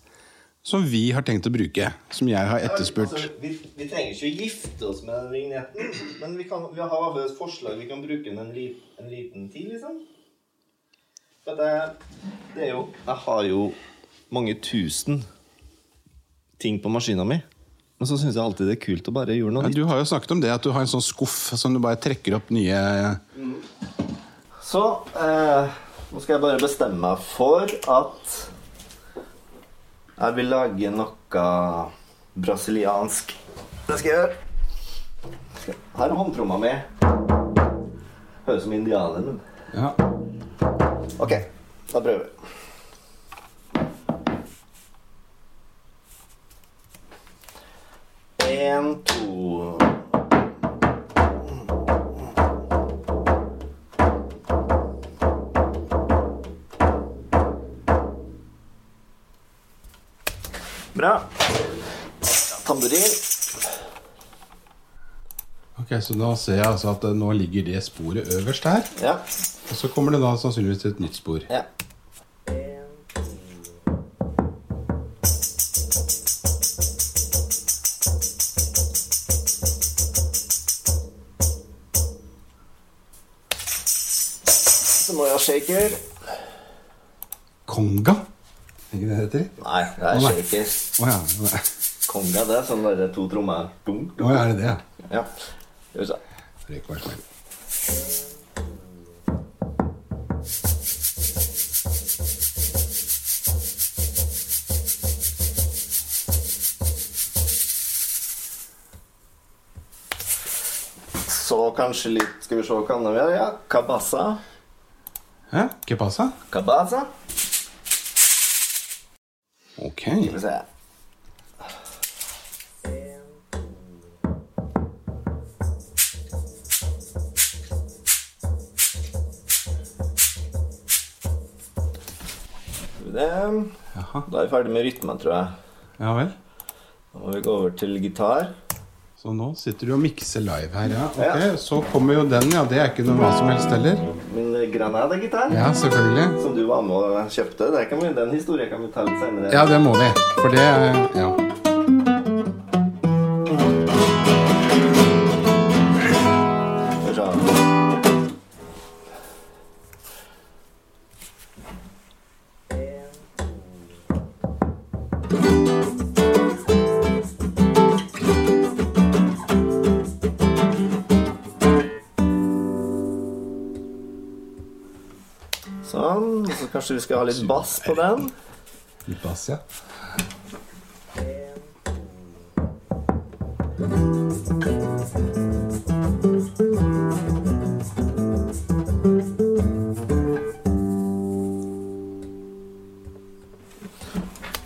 [SPEAKER 1] som vi har tenkt å bruke. Som jeg har etterspurt.
[SPEAKER 2] Altså, vi, trenger ikke å gifte oss med den vignetten, men vi, har et forslag vi kan bruke den en, liten tid, liksom. For det, er jo Jeg har jo mange tusen ting på maskina mi. Men så syns jeg alltid det er kult å bare gjøre noe
[SPEAKER 1] Ja,
[SPEAKER 2] nytt.
[SPEAKER 1] du har jo snakket om det, at du har en sånn skuff som du bare trekker opp nye
[SPEAKER 2] Så eh, nå skal jeg bare bestemme meg for at jeg vil lage noe brasiliansk. Det skal jeg gjøre. Skal- Her er håndtromma mi. Høres ut som indianer, men
[SPEAKER 1] Ja,
[SPEAKER 2] Ok, da prøver vi. En, to Bra. Tamburin.
[SPEAKER 1] Ok, Så da ser jeg altså at eh, nå ligger det sporet øverst her.
[SPEAKER 2] Ja.
[SPEAKER 1] Og så kommer det da sannsynligvis et nytt spor.
[SPEAKER 2] ja. Så må jeg ha shaker.
[SPEAKER 1] Konga? Er ikke det det heter?
[SPEAKER 2] Nei, det er
[SPEAKER 1] Nei.
[SPEAKER 2] shaker.
[SPEAKER 1] Å ja. Å ja.
[SPEAKER 2] Konga, det er sånn derre to trommer. Dunk.
[SPEAKER 1] Å ja, er det det? ja?
[SPEAKER 2] Ja. Skal vi se.
[SPEAKER 1] Det er ikke verst, men-
[SPEAKER 2] så kanskje litt Skal vi se hva annet vi har? Ja, kabassa.
[SPEAKER 1] Hæ? Hva passa?
[SPEAKER 2] Kabassa.
[SPEAKER 1] Ok.
[SPEAKER 2] Skal vi se. Skal vi se.
[SPEAKER 1] Jaha.
[SPEAKER 2] Da er vi ferdig med rytmen, tror jeg.
[SPEAKER 1] Ja vel.
[SPEAKER 2] Da må vi gå over til gitar.
[SPEAKER 1] Så nå sitter du og mikser live her, ja.
[SPEAKER 2] Ja.
[SPEAKER 1] Ok, Så kommer jo den, ja. Det er ikke noe hva som helst heller.
[SPEAKER 2] Min eh, Granada-gitar,
[SPEAKER 1] Ja, selvfølgelig.
[SPEAKER 2] som du var med og kjøpte, det kan vi, den historien kan vi ta litt senere.
[SPEAKER 1] Ja, det må vi. For det Ja.
[SPEAKER 2] Skal vi se. Sånn. Så kanskje vi skal ha litt bass på den.
[SPEAKER 1] Litt bass, ja.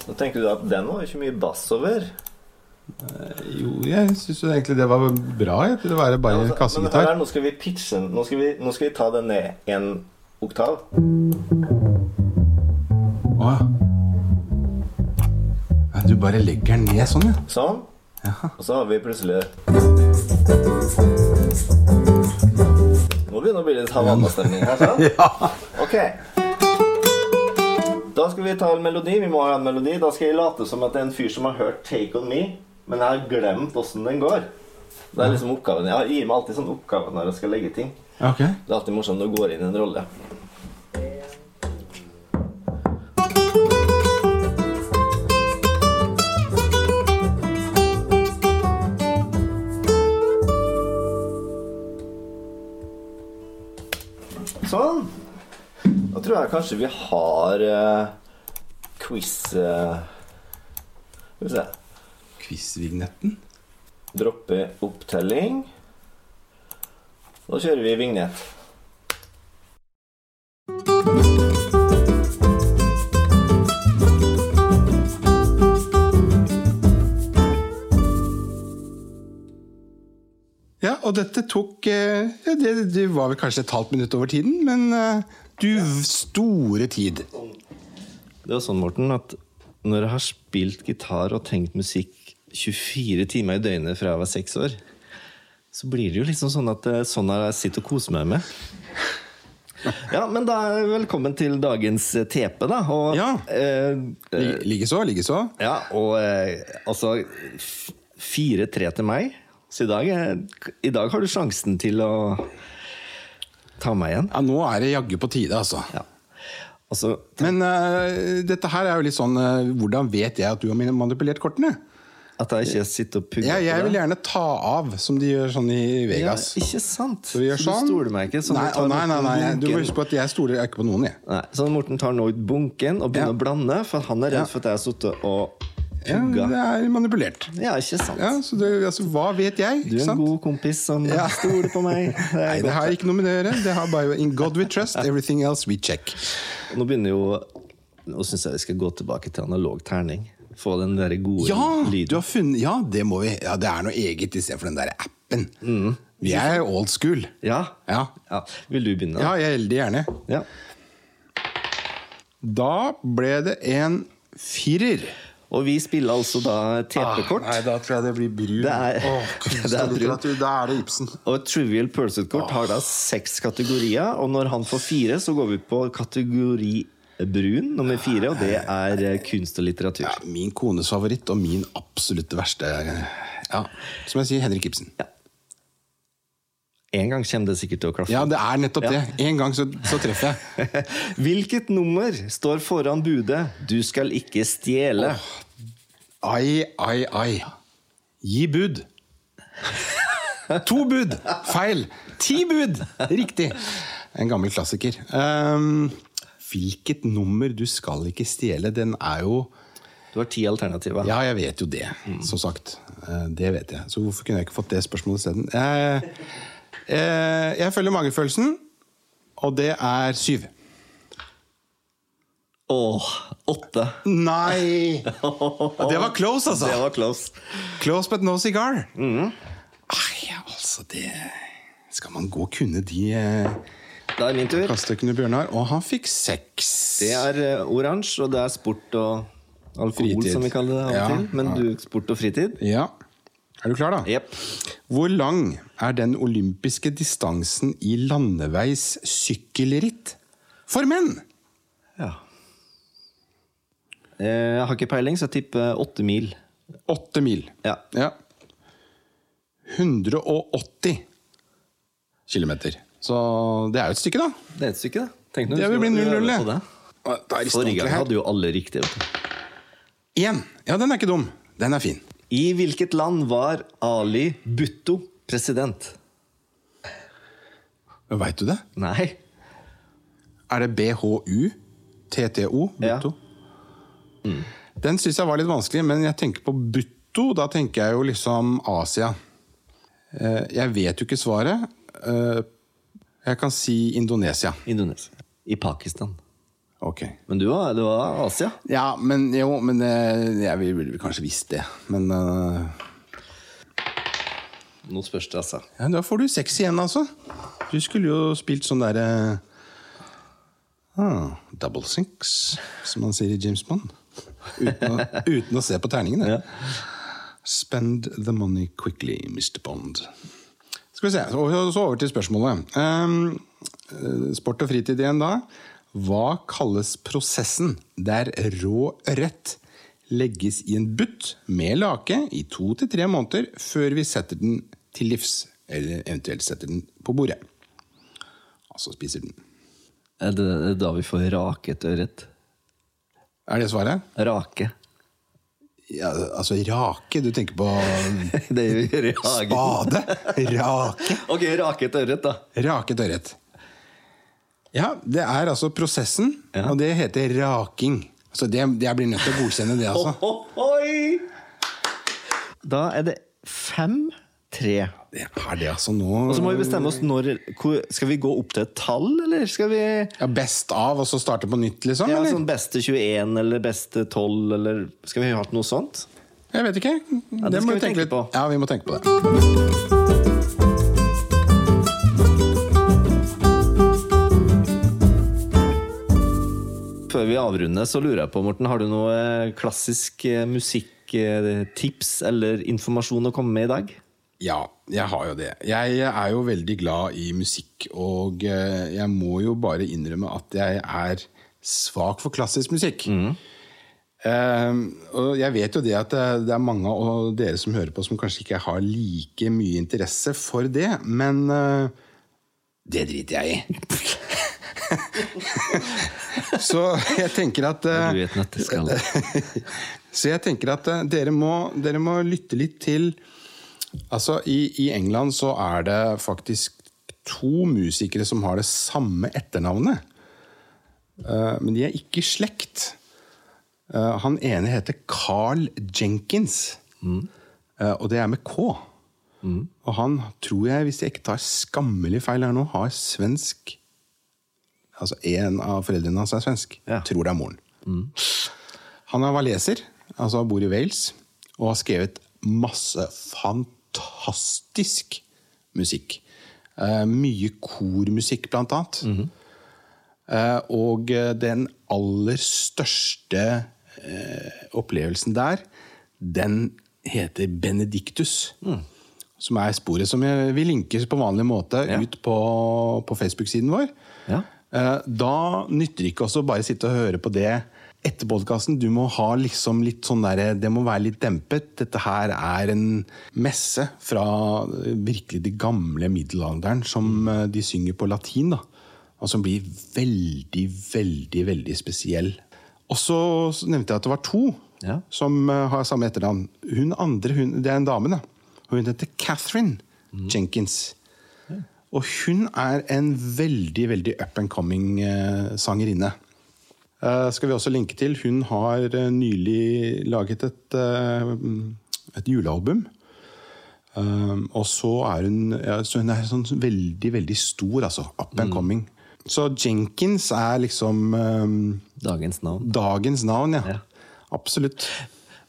[SPEAKER 2] Nå tenker du at den var jo ikke mye bass over.
[SPEAKER 1] Jo, jeg syns jo egentlig det var bra. Jeg. Det var bare
[SPEAKER 2] Altså, men hør
[SPEAKER 1] kassegitar.
[SPEAKER 2] her, nå skal vi pitche den. Nå skal vi, nå skal vi ta den ned en oktav.
[SPEAKER 1] Å ja. Ja, Du bare legger den ned sånn, ja.
[SPEAKER 2] Sånn. Og så har vi plutselig Nå begynner det å bli litt Havanna-stemning her, sant? Ok. Da skal vi ta en melodi. Vi må ha en melodi. Da skal jeg late som at det er en fyr som har hørt 'Take On Me', men jeg har glemt åssen den går. Det er liksom oppgaven. Jeg har- gir meg alltid sånn oppgave når jeg skal legge ting.
[SPEAKER 1] Ja, Ok.
[SPEAKER 2] Det er alltid morsomt når du går inn i en rolle. Sånn. Da tror jeg kanskje vi har eh, quiz eh, Skal vi se.
[SPEAKER 1] Quiz-vignetten.
[SPEAKER 2] Droppe opptelling. Da kjører vi vignett.
[SPEAKER 1] Ja, og dette tok eh, ja, det, det var vel kanskje et halvt minutt over tiden, men eh, du store tid.
[SPEAKER 2] Det var sånn, Morten, at når jeg har spilt gitar og tenkt musikk 24 timer i døgnet fra jeg var seks år, så blir det jo liksom sånn at eh, sånn har jeg sittet og kost meg med. Ja, men da er velkommen til dagens eh, tepe, da. Og,
[SPEAKER 1] Ja.
[SPEAKER 2] eh, eh,
[SPEAKER 1] Lig- Likeså, likeså.
[SPEAKER 2] ja, og eh, altså f- 4-3 til meg. Så i dag, er, i dag har du sjansen til å ta meg igjen.
[SPEAKER 1] Ja, nå er det jaggu på tide, altså.
[SPEAKER 2] Ja. Altså,
[SPEAKER 1] Men eh, dette her er jo litt sånn eh, Hvordan vet jeg at du har min- manipulert kortene?
[SPEAKER 2] at jeg ikke sitter og pugger
[SPEAKER 1] Ja, jeg
[SPEAKER 2] på det.
[SPEAKER 1] vil gjerne ta av, som de gjør sånn i Vegas.
[SPEAKER 2] Ja, ikke sant?
[SPEAKER 1] Så vi gjør sånn.
[SPEAKER 2] Du stoler meg ikke. Så
[SPEAKER 1] nei,
[SPEAKER 2] nå tar
[SPEAKER 1] å, nei, nei, nei,
[SPEAKER 2] Morten
[SPEAKER 1] du må
[SPEAKER 2] bunken-
[SPEAKER 1] huske på at jeg stoler ikke på noen, jeg.
[SPEAKER 2] Nei, så Morten tar nå ut bunken og begynner
[SPEAKER 1] Ja.
[SPEAKER 2] å blande, for han er redd
[SPEAKER 1] Ja.
[SPEAKER 2] for at jeg har sittet og
[SPEAKER 1] Ja,
[SPEAKER 2] pugga.
[SPEAKER 1] det er manipulert.
[SPEAKER 2] Ja, ikke sant?
[SPEAKER 1] Ja, så det, altså, hva vet jeg?
[SPEAKER 2] Du
[SPEAKER 1] ikke
[SPEAKER 2] er en
[SPEAKER 1] sant?
[SPEAKER 2] god kompis som
[SPEAKER 1] Ja.
[SPEAKER 2] stoler på meg. Det er
[SPEAKER 1] Nei, det
[SPEAKER 2] godt.
[SPEAKER 1] har ikke noe med det å gjøre. Det har bare In God we trust, everything else we check.
[SPEAKER 2] Nå begynner jo Nå syns jeg vi skal gå tilbake til analog terning. Få den der gode
[SPEAKER 1] Ja, du
[SPEAKER 2] lyden.
[SPEAKER 1] har funnet, ja det må vi. Ja, det er noe eget istedenfor den derre appen.
[SPEAKER 2] Mm.
[SPEAKER 1] Vi er old school.
[SPEAKER 2] Ja.
[SPEAKER 1] Ja.
[SPEAKER 2] ja. Vil du begynne?
[SPEAKER 1] ja, jeg veldig gjerne.
[SPEAKER 2] ja.
[SPEAKER 1] Da ble det en firer.
[SPEAKER 2] Og vi spiller altså da TP-kort.
[SPEAKER 1] Ah, nei, da tror jeg det blir brun.
[SPEAKER 2] Det er-
[SPEAKER 1] Åh, kunst
[SPEAKER 2] det er
[SPEAKER 1] og litteratur, Da er det Ibsen.
[SPEAKER 2] Og Trivial Pursuit-kort har da seks kategorier, og når han får fire, så går vi på kategori brun, nummer fire, og det er eh, kunst og litteratur.
[SPEAKER 1] Ja, min kones favoritt og min absolutt verste Ja, som jeg sier, Henrik Ibsen.
[SPEAKER 2] En gang kommer det sikkert til å klaffe.
[SPEAKER 1] Ja, det er nettopp det. En gang så, så treffer jeg.
[SPEAKER 2] Hvilket nummer står foran budet 'Du skal ikke stjele'?
[SPEAKER 1] Ai, ai, ai. Gi bud. To bud! Feil. Ti bud! Riktig. En gammel klassiker. Ehm, hvilket nummer du skal ikke stjele, den er jo
[SPEAKER 2] Du har ti alternativer.
[SPEAKER 1] Ja, jeg vet jo det, som sagt. Eh, Det vet jeg. Så hvorfor kunne jeg ikke fått det spørsmålet isteden? Eh, Eh, jeg følger magefølelsen, og det er syv.
[SPEAKER 2] Åh, åtte.
[SPEAKER 1] Nei! Det var close, altså.
[SPEAKER 2] Det var close.
[SPEAKER 1] Close but no cigar. Ai, altså, det Skal man gå og kunne de eh,
[SPEAKER 2] Da er det min tur.
[SPEAKER 1] kastøkene Bjørnar? Og han fikk seks.
[SPEAKER 2] Det er eh, oransje, og det er sport og alkohol,
[SPEAKER 1] Fritid.
[SPEAKER 2] som vi kaller det av og
[SPEAKER 1] Ja,
[SPEAKER 2] til. Men
[SPEAKER 1] ja.
[SPEAKER 2] du, sport og fritid?
[SPEAKER 1] Ja. Er du klar, da?
[SPEAKER 2] Jepp.
[SPEAKER 1] Hvor lang er den olympiske distansen i landeveis sykkelritt for menn?
[SPEAKER 2] Ja. Eh, Jeg har ikke peiling, så jeg tipper åtte mil.
[SPEAKER 1] Åtte mil.
[SPEAKER 2] Ja.
[SPEAKER 1] Ja. 180 kilometer. Så det er jo et stykke, da.
[SPEAKER 2] Det er et stykke, det. Tenk når
[SPEAKER 1] Det
[SPEAKER 2] du
[SPEAKER 1] vil
[SPEAKER 2] skal
[SPEAKER 1] bli
[SPEAKER 2] øve
[SPEAKER 1] 0-0,
[SPEAKER 2] på
[SPEAKER 1] det.
[SPEAKER 2] det. Forrige gang hadde jo alle riktig. vet du.
[SPEAKER 1] Én. Ja, den er ikke dum. Den er fin.
[SPEAKER 2] I hvilket land var Ali Bhutto president?
[SPEAKER 1] Veit du det?
[SPEAKER 2] Nei.
[SPEAKER 1] Er det BHU? TTO?
[SPEAKER 2] Ja.
[SPEAKER 1] Butto? Mm. Den syns jeg var litt vanskelig, men jeg tenker på Butto. Da tenker jeg jo liksom Asia. Eh, Jeg vet jo ikke svaret. Eh, Jeg kan si Indonesia.
[SPEAKER 2] Indonesia. I Pakistan.
[SPEAKER 1] Ok.
[SPEAKER 2] Men du var, du var Asia.
[SPEAKER 1] Ja, men jo, men eh, jeg ville vel kanskje visst det. Men eh,
[SPEAKER 2] Nå spørs det, altså.
[SPEAKER 1] ja, da får du seks igjen, altså. Du skulle jo spilt sånn derre ah, Double sinks, som man sier i James Bond. Uten å, uten å se på terningene. Spend the money quickly, Mr. Bond. Skal vi se, Så over- så over til spørsmålet. Ehm, eh, sport og fritid igjen da. Hva kalles prosessen der rå ørret legges i en butt med lake i to til tre måneder før vi setter den til livs, eller eventuelt setter den på bordet? Altså spiser den.
[SPEAKER 2] Er det er det da vi får raket ørret?
[SPEAKER 1] Er det svaret?
[SPEAKER 2] Rake.
[SPEAKER 1] Ja, altså rake? Du tenker på
[SPEAKER 2] Det vi gjør i hagen.
[SPEAKER 1] spade? Rake?
[SPEAKER 2] Ok, raket ørret, da.
[SPEAKER 1] Raket ørret. Ja, det er altså prosessen, og det heter raking. Så det, det jeg blir nødt til å godkjenne det, altså.
[SPEAKER 2] Ohoi! Da er det fem-tre.
[SPEAKER 1] Det er det, altså. Nå
[SPEAKER 2] Og så må vi bestemme oss når hvor- Skal vi gå opp til et tall, eller skal vi
[SPEAKER 1] ja, Best av, og så starte på nytt, liksom?
[SPEAKER 2] ja,
[SPEAKER 1] eller?
[SPEAKER 2] sånn beste 21 eller beste 12, eller Skal vi ha hatt noe sånt?
[SPEAKER 1] Jeg vet ikke.
[SPEAKER 2] altså- det skal
[SPEAKER 1] må
[SPEAKER 2] vi
[SPEAKER 1] tenke
[SPEAKER 2] tenke
[SPEAKER 1] litt-
[SPEAKER 2] på.
[SPEAKER 1] Ja, vi må tenke på det.
[SPEAKER 2] Før vi avrunder, så lurer jeg på, Morten, har du noe eh, klassisk eh, musikk eh, Tips eller informasjon å komme med i dag?
[SPEAKER 1] Ja, jeg har jo det. Jeg er jo veldig glad i musikk, og eh, jeg må jo bare innrømme at jeg er svak for klassisk musikk. Eh, og jeg vet jo det at det, det er mange av dere som hører på, som kanskje ikke har like mye interesse for det, men eh, det driter jeg i. Så jeg tenker at eh,
[SPEAKER 2] Du vet at det skal
[SPEAKER 1] så jeg tenker at eh, dere må, dere må lytte litt til Altså, i, i England så er det faktisk to musikere som har det samme etternavnet. Eh, men de er ikke i slekt. Eh, han ene heter Carl Jenkins. Eh, og det er med K. Og han tror jeg, hvis jeg ikke tar skammelig feil her nå, har svensk Altså en av foreldrene hans er svensk.
[SPEAKER 2] Ja.
[SPEAKER 1] Tror det er moren. Han er waleser, altså bor i Wales, og har skrevet masse fantastisk musikk. Eh, mye kormusikk, blant annet. eh, og eh, den aller største eh, opplevelsen der, den heter Benedictus.
[SPEAKER 2] Mm.
[SPEAKER 1] Som er sporet som jeg- vi linker på vanlig måte
[SPEAKER 2] Ja.
[SPEAKER 1] ut på, på Facebook-siden vår.
[SPEAKER 2] Ja.
[SPEAKER 1] Eh, Da nytter det ikke også bare sitte og høre på det etter podkasten. Du må ha liksom litt sånn derre Det må være litt dempet. Dette her er en messe fra eh, virkelig de gamle middelalderen som eh, de synger på latin, da. Og som blir veldig, veldig, veldig spesiell. Og så nevnte jeg at det var to
[SPEAKER 2] Ja.
[SPEAKER 1] som eh, har samme etternavn. Hun andre, hun, det er en dame, da. Hun heter Catherine Jenkins. Og hun er en veldig, veldig up and coming eh, sangerinne. Eh, skal vi også linke til. Hun har eh, nylig laget et, eh, mm, et julealbum. Eh, Um, og så er hun ja, så Hun er sånn veldig, veldig stor, altså. Up and coming. Så Jenkins er liksom um,
[SPEAKER 2] Dagens navn.
[SPEAKER 1] dagens navn, ja.
[SPEAKER 2] Ja.
[SPEAKER 1] Absolutt.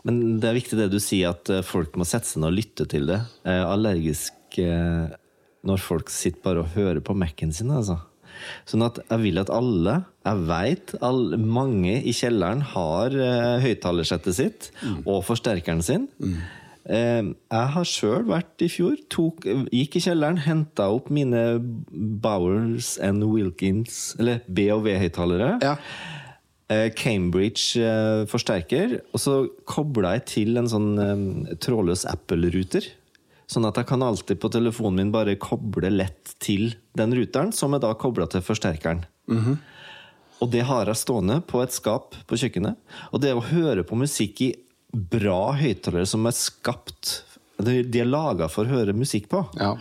[SPEAKER 2] Men det er viktig det du sier, at eh, folk må sette seg ned og lytte til det. Jeg er allergisk eh, når folk sitter bare og hører på Mac-en sin, altså. Sånn at jeg vil at alle, jeg veit all, mange i kjelleren har eh, høyttalersettet sitt og forsterkeren sin. Eh, jeg har sjøl vært i fjor, tok, gikk i kjelleren, henta opp mine Bowers and Wilkins, eller BOV-høyttalere.
[SPEAKER 1] Ja.
[SPEAKER 2] Eh, Cambridge eh, forsterker, og så kobla jeg til en sånn eh, trådløs Apple-ruter. Sånn at jeg kan alltid på telefonen min bare koble lett til den ruteren, som er da kobla til forsterkeren. Og det har jeg stående på et skap på kjøkkenet. Og det å høre på musikk i bra høyttalere som er skapt De de er laga for å høre musikk på.
[SPEAKER 1] Ja.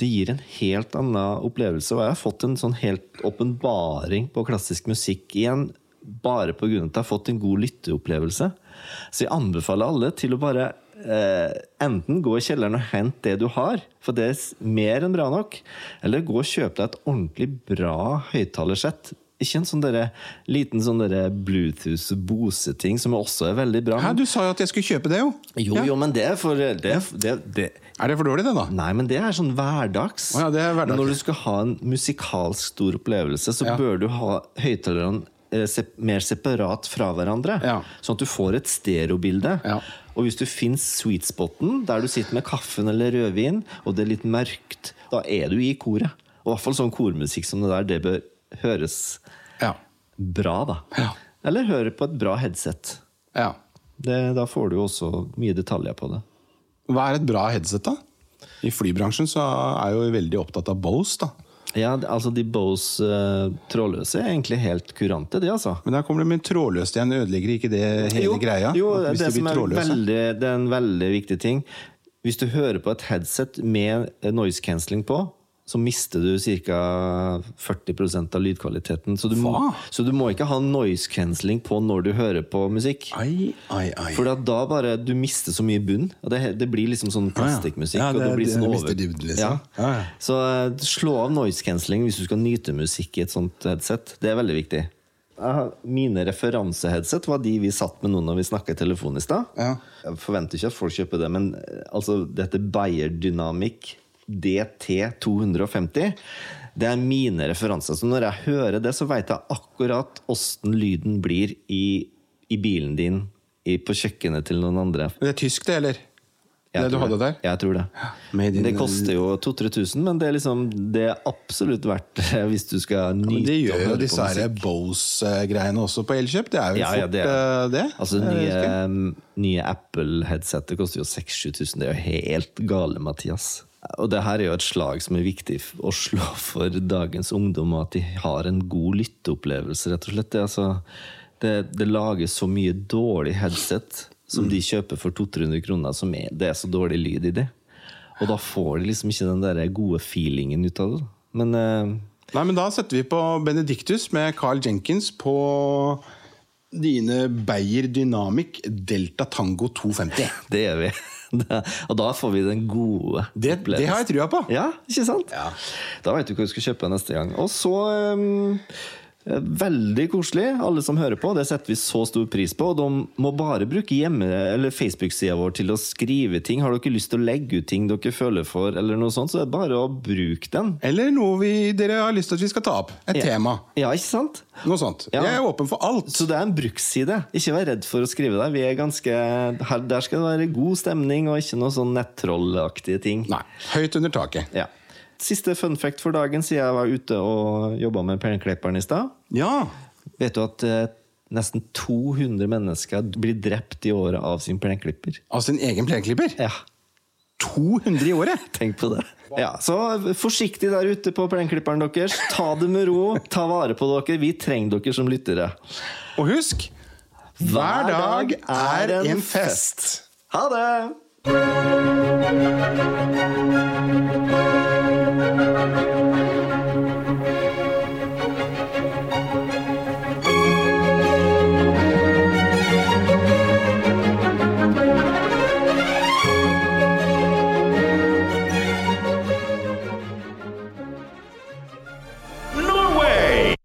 [SPEAKER 2] Det gir en helt annen opplevelse. Og jeg har fått en sånn helt åpenbaring på klassisk musikk igjen. Bare på grunn av at jeg har fått en god lytteopplevelse. Så jeg anbefaler alle til å bare eh, enten gå i kjelleren og hente det du har, for det er s- mer enn bra nok, eller gå og kjøpe deg et ordentlig bra høyttalersett. Ikke en sånn derre liten sånn derre Bluetooth-boseting, som også er veldig bra.
[SPEAKER 1] Hæ, du sa jo at jeg skulle kjøpe det, jo!
[SPEAKER 2] Jo,
[SPEAKER 1] Ja.
[SPEAKER 2] jo, men det er for det, er- det, det
[SPEAKER 1] Er det for dårlig, det, da?
[SPEAKER 2] Nei, men det er sånn hverdags.
[SPEAKER 1] Å ja, det er hverdags,
[SPEAKER 2] Når
[SPEAKER 1] ja.
[SPEAKER 2] du skal ha en musikalsk stor opplevelse, så
[SPEAKER 1] Ja.
[SPEAKER 2] bør du ha høyttalerne eh, sep- mer separat fra hverandre.
[SPEAKER 1] Ja.
[SPEAKER 2] Sånn at du får et stereobilde.
[SPEAKER 1] Ja.
[SPEAKER 2] Og hvis du finner sweet spoten, der du sitter med kaffen eller rødvin, og det er litt mørkt, da er du i koret. Og i hvert fall sånn kormusikk som det der, det bør høres
[SPEAKER 1] Ja.
[SPEAKER 2] bra, da.
[SPEAKER 1] Ja.
[SPEAKER 2] Eller høre på et bra headset.
[SPEAKER 1] ja.
[SPEAKER 2] Det, da får du jo også mye detaljer på det.
[SPEAKER 1] Hva er et bra headset, da? I flybransjen så er jeg jo veldig opptatt av Bose, da.
[SPEAKER 2] Ja, det- altså de Bose eh, trådløse er egentlig helt kurante, de, altså.
[SPEAKER 1] Men der kommer det med trådløst igjen. Ødelegger ikke det hele greia?
[SPEAKER 2] jo
[SPEAKER 1] At hvis
[SPEAKER 2] det,
[SPEAKER 1] de blir
[SPEAKER 2] som er
[SPEAKER 1] trådløse?
[SPEAKER 2] veldig, det er en veldig viktig ting. Hvis du hører på et headset med eh, noise cancelling på, så mister du ca. 40 av lydkvaliteten. Så du, må,
[SPEAKER 1] Hva?
[SPEAKER 2] så du må ikke ha noise cancelling på når du hører på musikk.
[SPEAKER 1] Ai, ai, ai.
[SPEAKER 2] For at da bare Du mister så mye bunn. Og det, det blir liksom sånn plastikkmusikk.
[SPEAKER 1] Ja,
[SPEAKER 2] og
[SPEAKER 1] det-
[SPEAKER 2] det blir
[SPEAKER 1] det-
[SPEAKER 2] sånn
[SPEAKER 1] du
[SPEAKER 2] over-
[SPEAKER 1] mister dybden, liksom.
[SPEAKER 2] Ja.
[SPEAKER 1] Ja, ja.
[SPEAKER 2] Så eh, slå av noise cancelling hvis du skal nyte musikk i et sånt headset. Det er veldig viktig. Jeg har- Mine referanseheadset var de vi satt med nå når vi snakka i telefon i stad.
[SPEAKER 1] Ja.
[SPEAKER 2] Jeg forventer ikke at folk kjøper det, men eh, altså, dette Beyer Dynamic DT250 det er mine referanser. Så når jeg hører det, så veit jeg akkurat åssen lyden blir i, i bilen din, i, på kjøkkenet til noen andre.
[SPEAKER 1] Men Det er tysk, det, eller?
[SPEAKER 2] Jeg
[SPEAKER 1] det du
[SPEAKER 2] tror
[SPEAKER 1] hadde der?
[SPEAKER 2] Jeg tror det.
[SPEAKER 1] Made in-
[SPEAKER 2] det koster jo 2000-3000, men det er liksom Det er absolutt verdt det hvis du skal nyte
[SPEAKER 1] Men det
[SPEAKER 2] å
[SPEAKER 1] gjør
[SPEAKER 2] høre
[SPEAKER 1] jo
[SPEAKER 2] på
[SPEAKER 1] disse
[SPEAKER 2] musikk.
[SPEAKER 1] her Bose-greiene også på Elkjøp. Det er jo
[SPEAKER 2] Ja, ja,
[SPEAKER 1] fort
[SPEAKER 2] det
[SPEAKER 1] det.
[SPEAKER 2] er-
[SPEAKER 1] det.
[SPEAKER 2] Altså,
[SPEAKER 1] Jeg vet ikke.
[SPEAKER 2] nye, nye Apple-headsetet koster jo 6000-7000. Det er jo helt gale, Mathias. Og det her er jo et slag som er viktig f- å slå for dagens ungdom, og at de har en god lytteopplevelse, rett og slett. Det, er altså, det, det lages så mye dårlig headset
[SPEAKER 1] Mm.
[SPEAKER 2] som de kjøper for 200-300 kroner, som er, det er så dårlig lyd i det. Og da får de liksom ikke den der gode feelingen ut av det. da. Men eh,
[SPEAKER 1] Nei, men da setter vi på Benedictus med Carl Jenkins på dine Beyer Dynamic Delta Tango 250.
[SPEAKER 2] det gjør vi. og da får vi den gode
[SPEAKER 1] Det, det har jeg trua på!
[SPEAKER 2] Ja, ikke sant? Da veit du hva du skal kjøpe neste gang. Og så ehm, eh, Veldig koselig, alle som hører på. Det setter vi så stor pris på. Og de må bare bruke hjemme- eller Facebook-sida vår til å skrive ting. Har dere lyst til å legge ut ting dere føler for, eller noe sånt, så er det bare å bruke den.
[SPEAKER 1] Eller noe vi, dere har lyst til at vi skal ta opp. Et tema.
[SPEAKER 2] Ja, ikke sant?
[SPEAKER 1] Noe sånt.
[SPEAKER 2] Ja.
[SPEAKER 1] Jeg er åpen for alt.
[SPEAKER 2] Så det er en bruksside. Ikke vær redd for å skrive der. Vi er ganske, her, der skal det være god stemning og ikke noe sånn nettrollaktige ting.
[SPEAKER 1] Nei. Høyt under taket.
[SPEAKER 2] Ja. Siste fun fact for dagen, siden jeg var ute og jobba med pleneklipperen i stad.
[SPEAKER 1] Ja.
[SPEAKER 2] Vet du at eh, nesten 200 mennesker blir drept i året av sin plenklipper?
[SPEAKER 1] Av sin egen plenklipper.
[SPEAKER 2] Ja,
[SPEAKER 1] 200 i året!
[SPEAKER 2] tenk på det. Ja, Så forsiktig der ute på plenklipperen deres. Ta det med ro. Ta vare på dere. Vi trenger dere som lyttere.
[SPEAKER 1] Og husk, hver dag er en fest.
[SPEAKER 2] Ha det!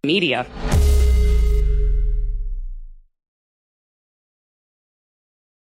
[SPEAKER 4] media.